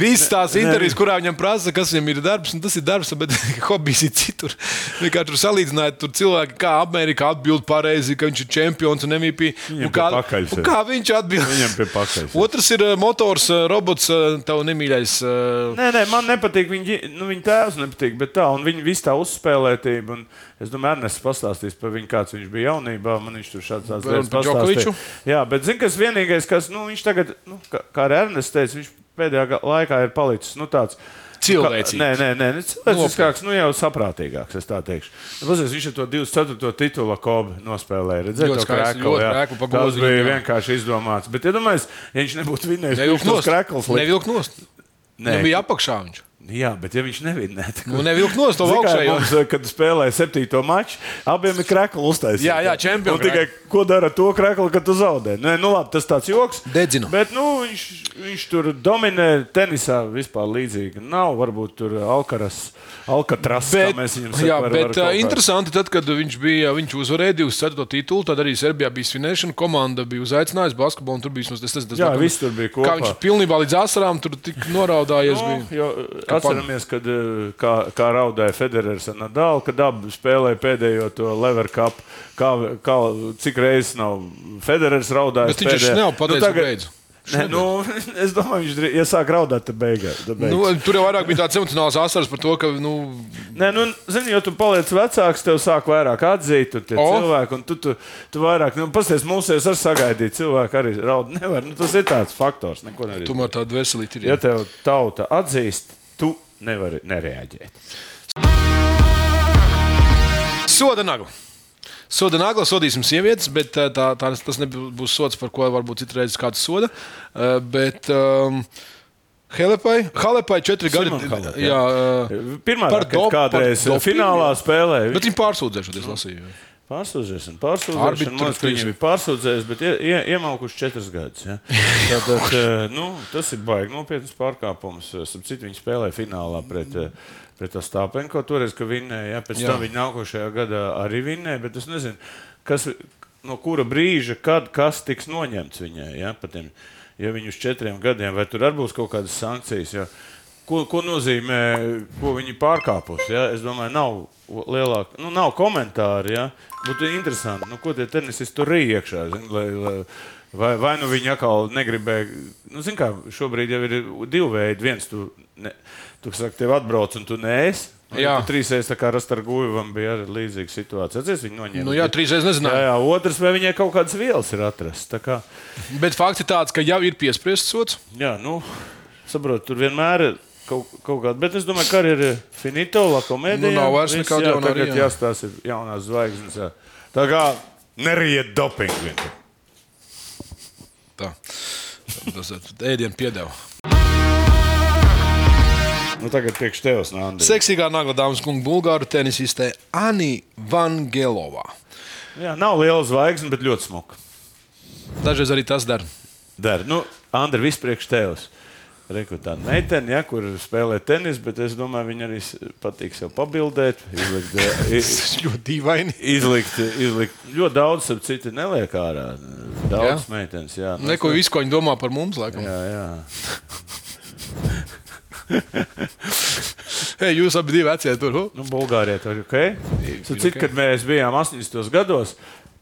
Speaker 3: Visas tās intervijas, kurā viņam prasa, kas viņam ir darbs, un tas ir darbs, bet hobijs ir citur. Vienkārši tur salīdzinājot, tur cilvēki, kā Amerikā atbild pareizi, ka viņš ir čempions un MVP.
Speaker 2: Viņam
Speaker 3: un kā,
Speaker 2: pie pakaļ
Speaker 3: un
Speaker 2: sēž.
Speaker 3: kā viņš atbild?
Speaker 2: Viņam pie pakaļ sēž.
Speaker 3: Otrs ir eh, motors, eh, robots, eh, tavu nemīļais. eh,
Speaker 2: Nē, nē, man nepatīk viņa, ģi- nu, viņa tēvs, nepatīk, bet tā, un viņa visu tā uzspēlētība. un Es domāju, Ernests pastāstīs par viņu, kāds viņš bija jaunībā. Man viņš tur šāds tāds
Speaker 3: Par-
Speaker 2: lietas
Speaker 3: par
Speaker 2: pastāstīja.
Speaker 3: Džokoviču?
Speaker 2: Jā, bet zini, kas vienīgais, kas, nu, viņš tagad, nu, kā, kā ar Ernests teica, viņš pēdējā ga- laikā ir palicis, nu, tāds.
Speaker 3: Cilvēcīgs.
Speaker 2: Kā- Nē, nē, nē, ne cilvēciskāks, nu jau saprātīgāks, es tā teikšu. Nu, Pazies, viņš ar to 24. titula kobu nospēlēja. Redzēju,
Speaker 3: Ļoti
Speaker 2: to
Speaker 3: skaisti,
Speaker 2: krēklu,
Speaker 3: ļoti
Speaker 2: jā.
Speaker 3: krēklu pa
Speaker 2: Tas
Speaker 3: godu
Speaker 2: bija
Speaker 3: viņam, jā.
Speaker 2: vienkārši izdomāts. Bet, ja domājies, ja viņš nebūtu vinnējis,
Speaker 3: Nevilk
Speaker 2: viņš tos
Speaker 3: nost.
Speaker 2: krēklus liktu.
Speaker 3: Nevilk nost.
Speaker 2: Nē.
Speaker 3: Viņam bija apakšā viņš.
Speaker 2: Jā, bet ja viņš nevinnē, tad
Speaker 3: Nu, nevilk nost to augšējo.
Speaker 2: eh, Kad spēlēja septīto maču, abiem ir krāklis uztaisīts.
Speaker 3: Jā, jā, čempionu
Speaker 2: Un Tikai ko dara to krākli, kad tu zaudē? Nē, nu labi, tas tāds joks.
Speaker 3: Dedzina.
Speaker 2: Bet nu, viņš, viņš tur dominē tenisā vispār līdzīgi. Nav varbūt tur Alkaras, Alkatras, bet,
Speaker 3: Bet,
Speaker 2: kā mēs viņam
Speaker 3: jā,
Speaker 2: sakām.
Speaker 3: bet uh, interesanti, tad, kad viņš, bija, viņš uzvarēja 24. titulu, tad arī Serbijā bija svinēšana. Komanda bija uzaicinājusi basketbolu, un tur bija vismaz tas, tas, tas
Speaker 2: Jā, viss tur bija
Speaker 3: Kā
Speaker 2: kopā.
Speaker 3: viņš pilnībā līdz asarām tur tik noraudājies.
Speaker 2: Nu,
Speaker 3: Nu,
Speaker 2: jo,
Speaker 3: ka pan-
Speaker 2: Atceramies, kad eh, kā, kā raudāja Federers un Nadals, kad abi spēlēja pēdējo to Lever Cup. Kā, kā, cik reizes nav Federers raudājis?
Speaker 3: Bet viņš taču
Speaker 2: pēdējā- Nu,
Speaker 3: nav pateicis,
Speaker 2: tagad-
Speaker 3: beidz.
Speaker 2: Nē, nu, es domāju, viņš drīz- ja sāk raudāt, tad beigās.
Speaker 3: Nu, tur jau vairāk bija tāds emocionāls asars par to, ka nu,
Speaker 2: Nē, nu, zini, jo tu paliec vecāks, tev sāk vairāk atzīt, un tie
Speaker 3: O.
Speaker 2: oh. cilvēki, un tu, tu, tu vairāk, nu, pasties, mūsēs ar sagaidīt, cilvēki arī raud nevar. Nu, tas ir tāds faktors, neko nevar.
Speaker 3: tomēr tāda veselība ir.
Speaker 2: Ja tev tauta atzīst, tu nevari nereaģēt.
Speaker 3: Soda nagla. Soda nagla sodīsim sievietes, bet eh, tā, tā, tas nebūs sots, par ko varbūt citreiz kāds soda. Eh, Bet um, Helepai, Halepai četri gadi.
Speaker 2: Simon Halep, jā.
Speaker 3: jā, eh,
Speaker 2: Pirmā
Speaker 3: Par
Speaker 2: raketa
Speaker 3: dop- par
Speaker 2: kādreiz eh,
Speaker 3: dopingu?
Speaker 2: finālā spēlē.
Speaker 3: bet viņi pārsūdzējušies, lasīju.
Speaker 2: Pārsūdzēs un pārsūdzēs.
Speaker 3: Arbitri
Speaker 2: un Man liekas, ka
Speaker 3: trīs.
Speaker 2: viņi bija pārsūdzējis, bet ie, ie, iemaukuši četrus gadus. Ja? Tātad, eh, nu, tas ir baigi nopietns pārkāpums. Starp citu, viņi spēlēja finālā pret, eh, pret Astāpenko. Toreiz, ka vinnēja, ja? pēc
Speaker 3: Jā.
Speaker 2: tam viņi nākošajā gadā arī vinnēja, bet es nezinu, kas, no kura brīža, kad kas tiks noņemts viņai. Ja? pa tiem- ja viņi uz četriem gadiem, vai tur arī būs kaut kādas sankcijas. Jo, Ko, ko nozīmē, ko viņi pārkāpus? Ja? Es domāju, nav lielāka, nu, nav komentāru. Ja? Būtu interesanti, nu, ko tie tenisisti tur ir iekšā. Zin, lai, lai, vai, vai nu viņi atkal negribēja, nu, zin, kā šobrīd jau ir divi veidi. Viens, tu, ne, tu saki, tev atbrauc, un tu neesi.
Speaker 3: Jā.
Speaker 2: Trīsreiz tā kā Rastargujevam bija arī līdzīga situācija. Atceries, viņu noņēma.
Speaker 3: Nu, jā, trīs reizes
Speaker 2: Jā,
Speaker 3: nezināju.
Speaker 2: jā, otrs, vai viņai kaut kādas vielas ir atrastas. Tā Kā,
Speaker 3: Bet fakts ir tāds, ka jau ir piespriests sots.
Speaker 2: jā, nu, saprotu, tur vienmēr ir kaut, kaut kāda. Bet es domāju, ka arī ir finito, la komēdija.
Speaker 3: Nu, nav vairs
Speaker 2: Viss,
Speaker 3: nekāda
Speaker 2: jā,
Speaker 3: jauna
Speaker 2: tagad
Speaker 3: arī, jā.
Speaker 2: jāstāsta ir jaunās zvaigznes. Jā. Tā kā neriet dopingu. vienkārši.
Speaker 3: Tā. Tas ēdienas piedeva.
Speaker 2: Nu, tagad priekš tevis nāk.
Speaker 3: Seksīgā nagla dāmas kunga bulgāru tenisistē Ani Vangelovā.
Speaker 2: Jā, nav liela zvaigzne, bet ļoti smuka.
Speaker 3: Dažreiz arī tas dara.
Speaker 2: Dar. Nu, Andri, viss priekš tevis. Rekrutēta meitene, ja, kur spēlē tenisu, bet es domāju, viņa arī s- patīk sev pabildēt, izlikt, eh, i-
Speaker 3: Tas ir ļoti dīvaini.
Speaker 2: Izlikt, izlikt. Ļoti daudz, ap citu, neliek ārā. Daudz meitenes, jā. Nu,
Speaker 3: Neko visu, ko viņi domā par mums, laikam.
Speaker 2: Jā, jā.
Speaker 3: Hei, jūs abi divi vecie tur. hu!
Speaker 2: Nu, Bulgārijā tur ir ok. Cik, okay.
Speaker 3: ok.
Speaker 2: kad mēs bijām 80 gados,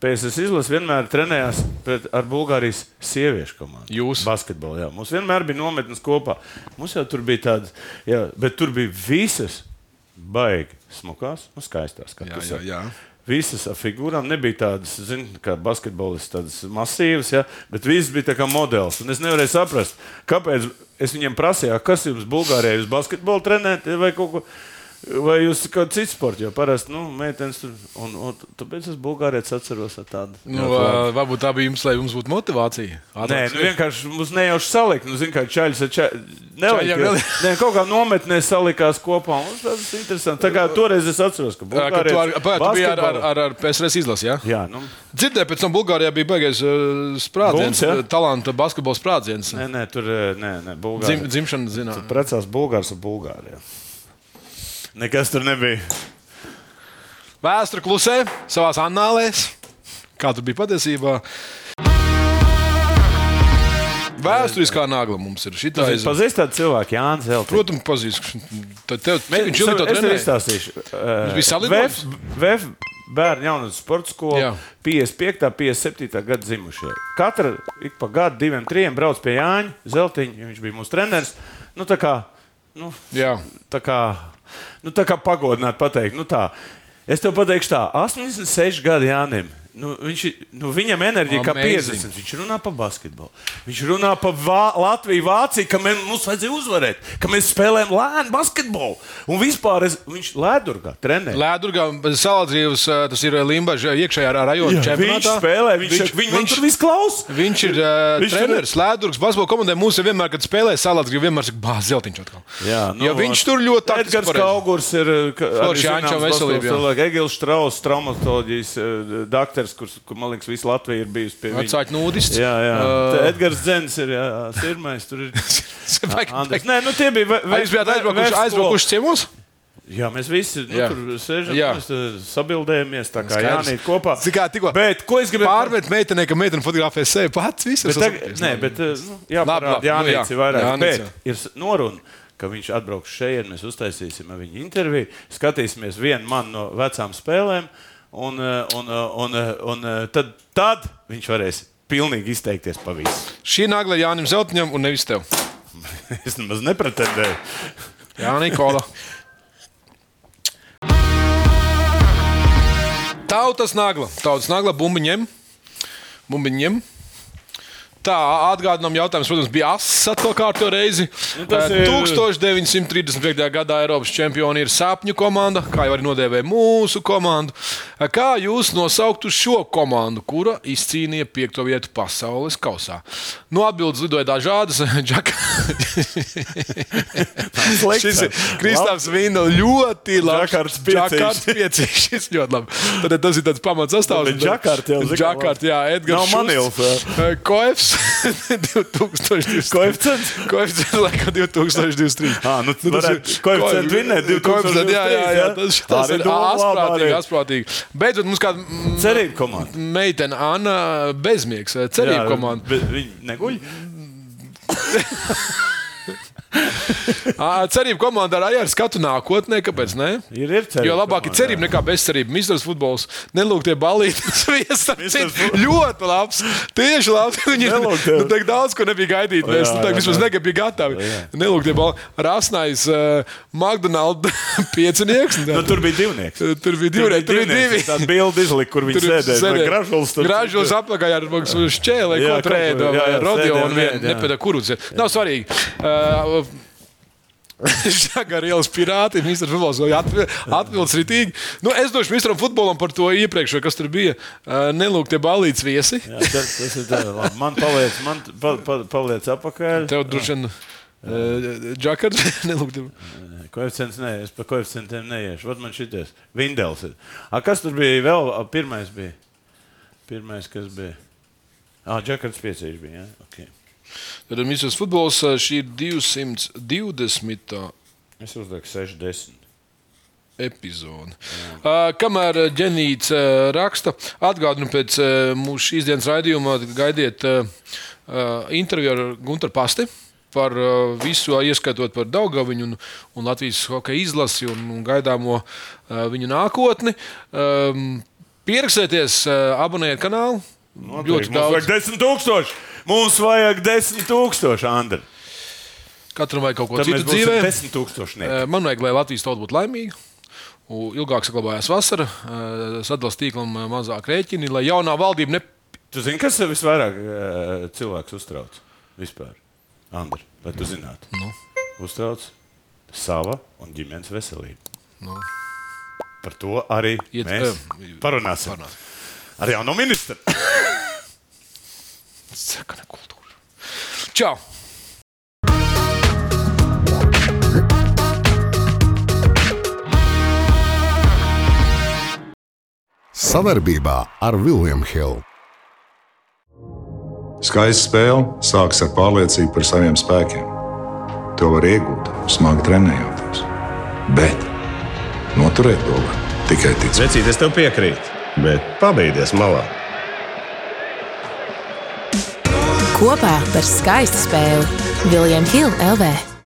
Speaker 2: PSC izlases vienmēr trenējās pret, ar Bulgārijas sieviešu komandu.
Speaker 3: Jūs?
Speaker 2: Basketbolā, jā. Mums vienmēr bija nometnes kopā. Mums jau tur bija tādas, jā, bet tur bija visas baigi smukās un skaistās. kā
Speaker 3: Jā,
Speaker 2: tu
Speaker 3: jā,
Speaker 2: saki.
Speaker 3: jā.
Speaker 2: Visas ar figūrām nebija tādas, zin, kā basketbolists, tādas masīvas, ja, bet visas bija tā kā modelis. Un es nevarēju saprast, kāpēc es viņiem prasīju, "A, kas jums Bulgārijā ir basketbols trenēt vai kaut ko. Vai jūs kādā citā sportā, jo parasti nu, meitenes tur un, un tāpēc es Bulgārijas atceros ar tādu.
Speaker 3: Nu,
Speaker 2: Jā, tā.
Speaker 3: ā, varbūt tā bija jums, lai jums būtu motivācija.
Speaker 2: Nē,
Speaker 3: Atrast-
Speaker 2: nu, vienkārši mums nejauši salikt. Nu, Zinām, kā čaļš ar čaļu. Nelika,
Speaker 3: Čaļiem
Speaker 2: neli...
Speaker 3: nelika.
Speaker 2: Nē, kaut kā nometnē salikās kopā. un Tas ir interesanti. Tā kā toreiz es atceros, ka
Speaker 3: Ā, ka tu ar-
Speaker 2: Bulgārijas
Speaker 3: pā, tu biji ar, ar,
Speaker 2: basketbola-
Speaker 3: ar, ar PSRS izlasi. Ja?
Speaker 2: Jā, nu,
Speaker 3: Dzirdēju, pēc tam Bulgārijā bija baigies uh, sprādziens,
Speaker 2: Bums, ja?
Speaker 3: Bums, talanta basketbola sprādziens.
Speaker 2: nē, nē, tur eh, nē, nē,
Speaker 3: Dzim,
Speaker 2: Bulgārija.
Speaker 3: dzimšana zināmā mērā.
Speaker 2: Precās Bulgārs ar Bulgāriju. Nekas tur nebija.
Speaker 3: Vēsture klusē savā anālēs. Kā tu biji patiesībā? Vēsturiskā nagla mums ir šī
Speaker 2: Jūs
Speaker 3: tāda.
Speaker 2: pazīstat cilvēku, Jānis Zeltiņš.
Speaker 3: Protams, pazīstams. Tad tev ir jau tā
Speaker 2: es tev
Speaker 3: līnija.
Speaker 2: izstāstīšu. Eh,
Speaker 3: bija salidojums?
Speaker 2: VF VF Bērnu jaunatnes sporta skola
Speaker 3: Jā.
Speaker 2: 55. un 57. gada dzimušie. Katra ik pa gadu, diviem, trim brauc pie Jāņa Zeltiņa, jo viņš bija mūsu treneris. Nu, tā kā, nu,
Speaker 3: Jā,
Speaker 2: tā kā, nu, tā kā pagodināt, pateikt, nu tā. Es tev pateikšu, tā, 86 gadi Jānim. Nu, viņš, ir- nu, viņam enerģija kā
Speaker 3: Amazing.
Speaker 2: 50. Viņš runā par basketbolu. Viņš runā par vā, Latviju, Vāciju, ka mē, mums vajadzēja uzvarēt, ka mēs spēlējam lēnu basketbolu. Un vispār es, viņš ledurgā trenē.
Speaker 3: Lēdurgā, Saladzīvas, tas ir Limbaģa iekšējā rajona
Speaker 2: viņš
Speaker 3: čempionātā.
Speaker 2: spēlē, viņš, viņš, viņš, viņš tur viss klausās.
Speaker 3: Viņš ir uh,
Speaker 2: Viņš tur-
Speaker 3: treneris, Lēdurgas basketbola komandai. Mums ir vienmēr, kad spēlē salāts, grib vienmēr sakot, bāz zeltiņš atkal.
Speaker 2: nu,
Speaker 3: jo viņš tur ļoti taktiski
Speaker 2: Edgars
Speaker 3: pareizi.
Speaker 2: Kaugurs ir
Speaker 3: Forši Jāņčam veselību, jā.
Speaker 2: Cilvēks, Egils Strauss, traumatoloģijas eh, dakteris, kurš, kur, man liekas, visu Latviju ir bijusi pie viņa.
Speaker 3: Vecāki nudisti.
Speaker 2: Jā, jā.
Speaker 3: Ā.
Speaker 2: Uh... Edgars Zens ir jā, pirmais. Tur ir.
Speaker 3: Vajag-
Speaker 2: Andres. Nē, nu tie bija. ve- ve-
Speaker 3: Vai jūs bijāt
Speaker 2: ve-
Speaker 3: aizbraukuši,
Speaker 2: vērts
Speaker 3: aizbraukuši ciemos?
Speaker 2: Jā, mēs visi nu,
Speaker 3: Jā.
Speaker 2: tur sēžam,
Speaker 3: Jā.
Speaker 2: mēs eh, sabildējamies, tā kā
Speaker 3: Skaidrs.
Speaker 2: Jānis kopā.
Speaker 3: Zini kā, tikko-
Speaker 2: Bet ko es gribēju
Speaker 3: Pārmet meitenei, ka meitene fotografē sevi pats. Visu,
Speaker 2: Bet tagad, nē, bet eh, nu, jā,
Speaker 3: Labi,
Speaker 2: parāda,
Speaker 3: labi, nu
Speaker 2: Jānis
Speaker 3: jā.
Speaker 2: ir vairāk.
Speaker 3: Jānis,
Speaker 2: Jānis,
Speaker 3: jā.
Speaker 2: bet ir s- noruna, ka viņš atbrauks šeit, mēs uztaisīsim ar viņu interviju, skatīsimies vienu man no vecām spēlēm, un, eh, un, eh, un, eh, un eh, tad, tad viņš varēs pilnīgi izteikties par visu.
Speaker 3: Šī nagla Jānis Zeltņam un nevis tev.
Speaker 2: es nemaz nepretendēju.
Speaker 3: Jā, Nikola. Tautas nagla. Tautas nagla bumbiņiem. bumbiņiem. Tā atgādinām, jautājums, protams, bija asins atkal kārto reizi.
Speaker 2: Nu, tas
Speaker 3: Eh,
Speaker 2: ir-
Speaker 3: 1935. gadā Eiropas čempioni ir sapņu komanda, kā jau arī nodēvēja mūsu komandu. Eh, Kā jūs nosauktu šo komandu, kura izcīnīja piekto vietu pasaules kausā? Nu, atbildes lidoja dažādas. Džaka... Šis ir Kristāns Vīna ļoti labs.
Speaker 2: Džakarts piecīšs.
Speaker 3: Džakarts piecīšs. Šis ļoti labi. Tad tas ir tāds pamats sastāvs.
Speaker 2: Bet Džakart jau, zini,
Speaker 3: Džakart, jā, Edgars.
Speaker 2: Nav Manils,
Speaker 3: Koefs 2023.
Speaker 2: Koeficients?
Speaker 3: Koefs ir laikam 2023.
Speaker 2: Ā, nu,
Speaker 3: tas ir-
Speaker 2: varētu koeficientu
Speaker 3: koef-
Speaker 2: vinnēt 2023,
Speaker 3: koeficientu, Jā, jā, jā.
Speaker 2: jā.
Speaker 3: Tas, tas
Speaker 2: Arī
Speaker 3: ir
Speaker 2: doma labā
Speaker 3: asprātīgi,
Speaker 2: arī.
Speaker 3: asprātīgi. Beidzot, mums kāda mm,
Speaker 2: Cerība komanda.
Speaker 3: meitene Anna Bezmiegs, cerība komanda.
Speaker 2: bet Viņi neguļ.
Speaker 3: Ā, Cerība komanda arī ar skatu nākotnē, kāpēc ne?
Speaker 2: Ir, ir cerība.
Speaker 3: Jo labāk ir
Speaker 2: komanda,
Speaker 3: cerība nekā bezcerība. Mistrs futbols nelūk tie balītas
Speaker 2: Misters
Speaker 3: viesas.
Speaker 2: futbols.
Speaker 3: Ļoti labs. Tieši labs. Viņi ir
Speaker 2: Nelūk tie.
Speaker 3: nu, tik daudz, ko nebija gaidīt. Mēs
Speaker 2: jā,
Speaker 3: nu, tā,
Speaker 2: jā,
Speaker 3: vismaz
Speaker 2: jā.
Speaker 3: negribu gatavi. Nelūk tie balītas. Rasnais uh, McDonald's piecinieks.
Speaker 2: Nu, tur bija divnieks.
Speaker 3: Tur bija divreiz, tur bija divi.
Speaker 2: Tāda bilde izlika, kur viņi
Speaker 3: Tur
Speaker 2: sēdēja. Gražulis. tur-
Speaker 3: Gražulis apakšā ar mums šķēlē,
Speaker 2: Jā,
Speaker 3: ko
Speaker 2: kaut
Speaker 3: trēda.
Speaker 2: ko, jā, jā,
Speaker 3: Rodio
Speaker 2: sēdē un
Speaker 3: un vien,
Speaker 2: ēd, jā.
Speaker 3: nepēdā kurus. Nav svarīgi. Uh, Žagar ielas pirāti, ministrs futbols vēl atbildēs ritīgi. Nu, es došu ministram futbolam par to iepriekš, vai kas tur bija. Uh, Nelūk, tie balīts viesi.
Speaker 2: Jā, tad tas ir tā, labi. Man paliec, man t- pa, pa, paliec apakaļ.
Speaker 3: Tev droši vien uh, Džakars, nelūk, tie
Speaker 2: Koeficients nē, es pa koeficientiem neiešu. Vat man šities. Vindels ir. A, kas tur bija vēl? A, pirmais bija. Pirmais, kas bija. Ah, Džekards piecīši bija, jā? Ok.
Speaker 3: Tad ministrs futbols ā, šī ir 220.
Speaker 2: Es uzdeku 60.
Speaker 3: epizode. Uh, kamēr ā, ģenīts uh, raksta, atgādinu pēc uh, mūsu šīs dienas raidījuma, gaidiet uh, uh, interviju ar Gunteru Pasti. Par uh, visu, ā, ieskaitot par Daugaviņu un, un Latvijas hokeja izlasi un, un gaidāmo uh, viņu nākotni. Um, Pierakstieties, uh, abonējiet kanālu. Ļoti
Speaker 2: Mums vajag
Speaker 3: daudz.
Speaker 2: 10 tūkstoši. Mums vajag 10 tūkstoši, Andri.
Speaker 3: Katram vajag kaut ko
Speaker 2: Tad mēs
Speaker 3: citu
Speaker 2: būsim
Speaker 3: dzīvē.
Speaker 2: 10 tūkstoši.
Speaker 3: Eh, Man vajag, lai Latvijas tauta būtu laimīga. U- Ilgāk saglabājās vasara, eh, sadalījums tīklam eh, mazāk rēķini, lai jaunā valdība ne.
Speaker 2: Tu zini, kas tev visvairāk eh, cilvēks uztrauc? Vispār, Andri, lai tu zinātu. Nu. Uztrauc sava un ģimenes veselību. Nu. Par to arī
Speaker 3: Iet-
Speaker 2: Iet, mēs
Speaker 3: eh,
Speaker 2: parunāsim.
Speaker 3: parunāsim.
Speaker 2: Ar jauno ministru.
Speaker 3: Sekana kultūra. Čau!
Speaker 1: Savarbībā ar William Hill.
Speaker 4: Skaista spēle sākas ar pārliecību par saviem spēkiem. To var iegūt, smagi trenējoties. Bet noturēt to var tikai ticēt.
Speaker 7: Vecīt, es tev piekrītu, bet pabeigties malā.
Speaker 6: Kopā par skaistu spēli Viljams Hilde LV.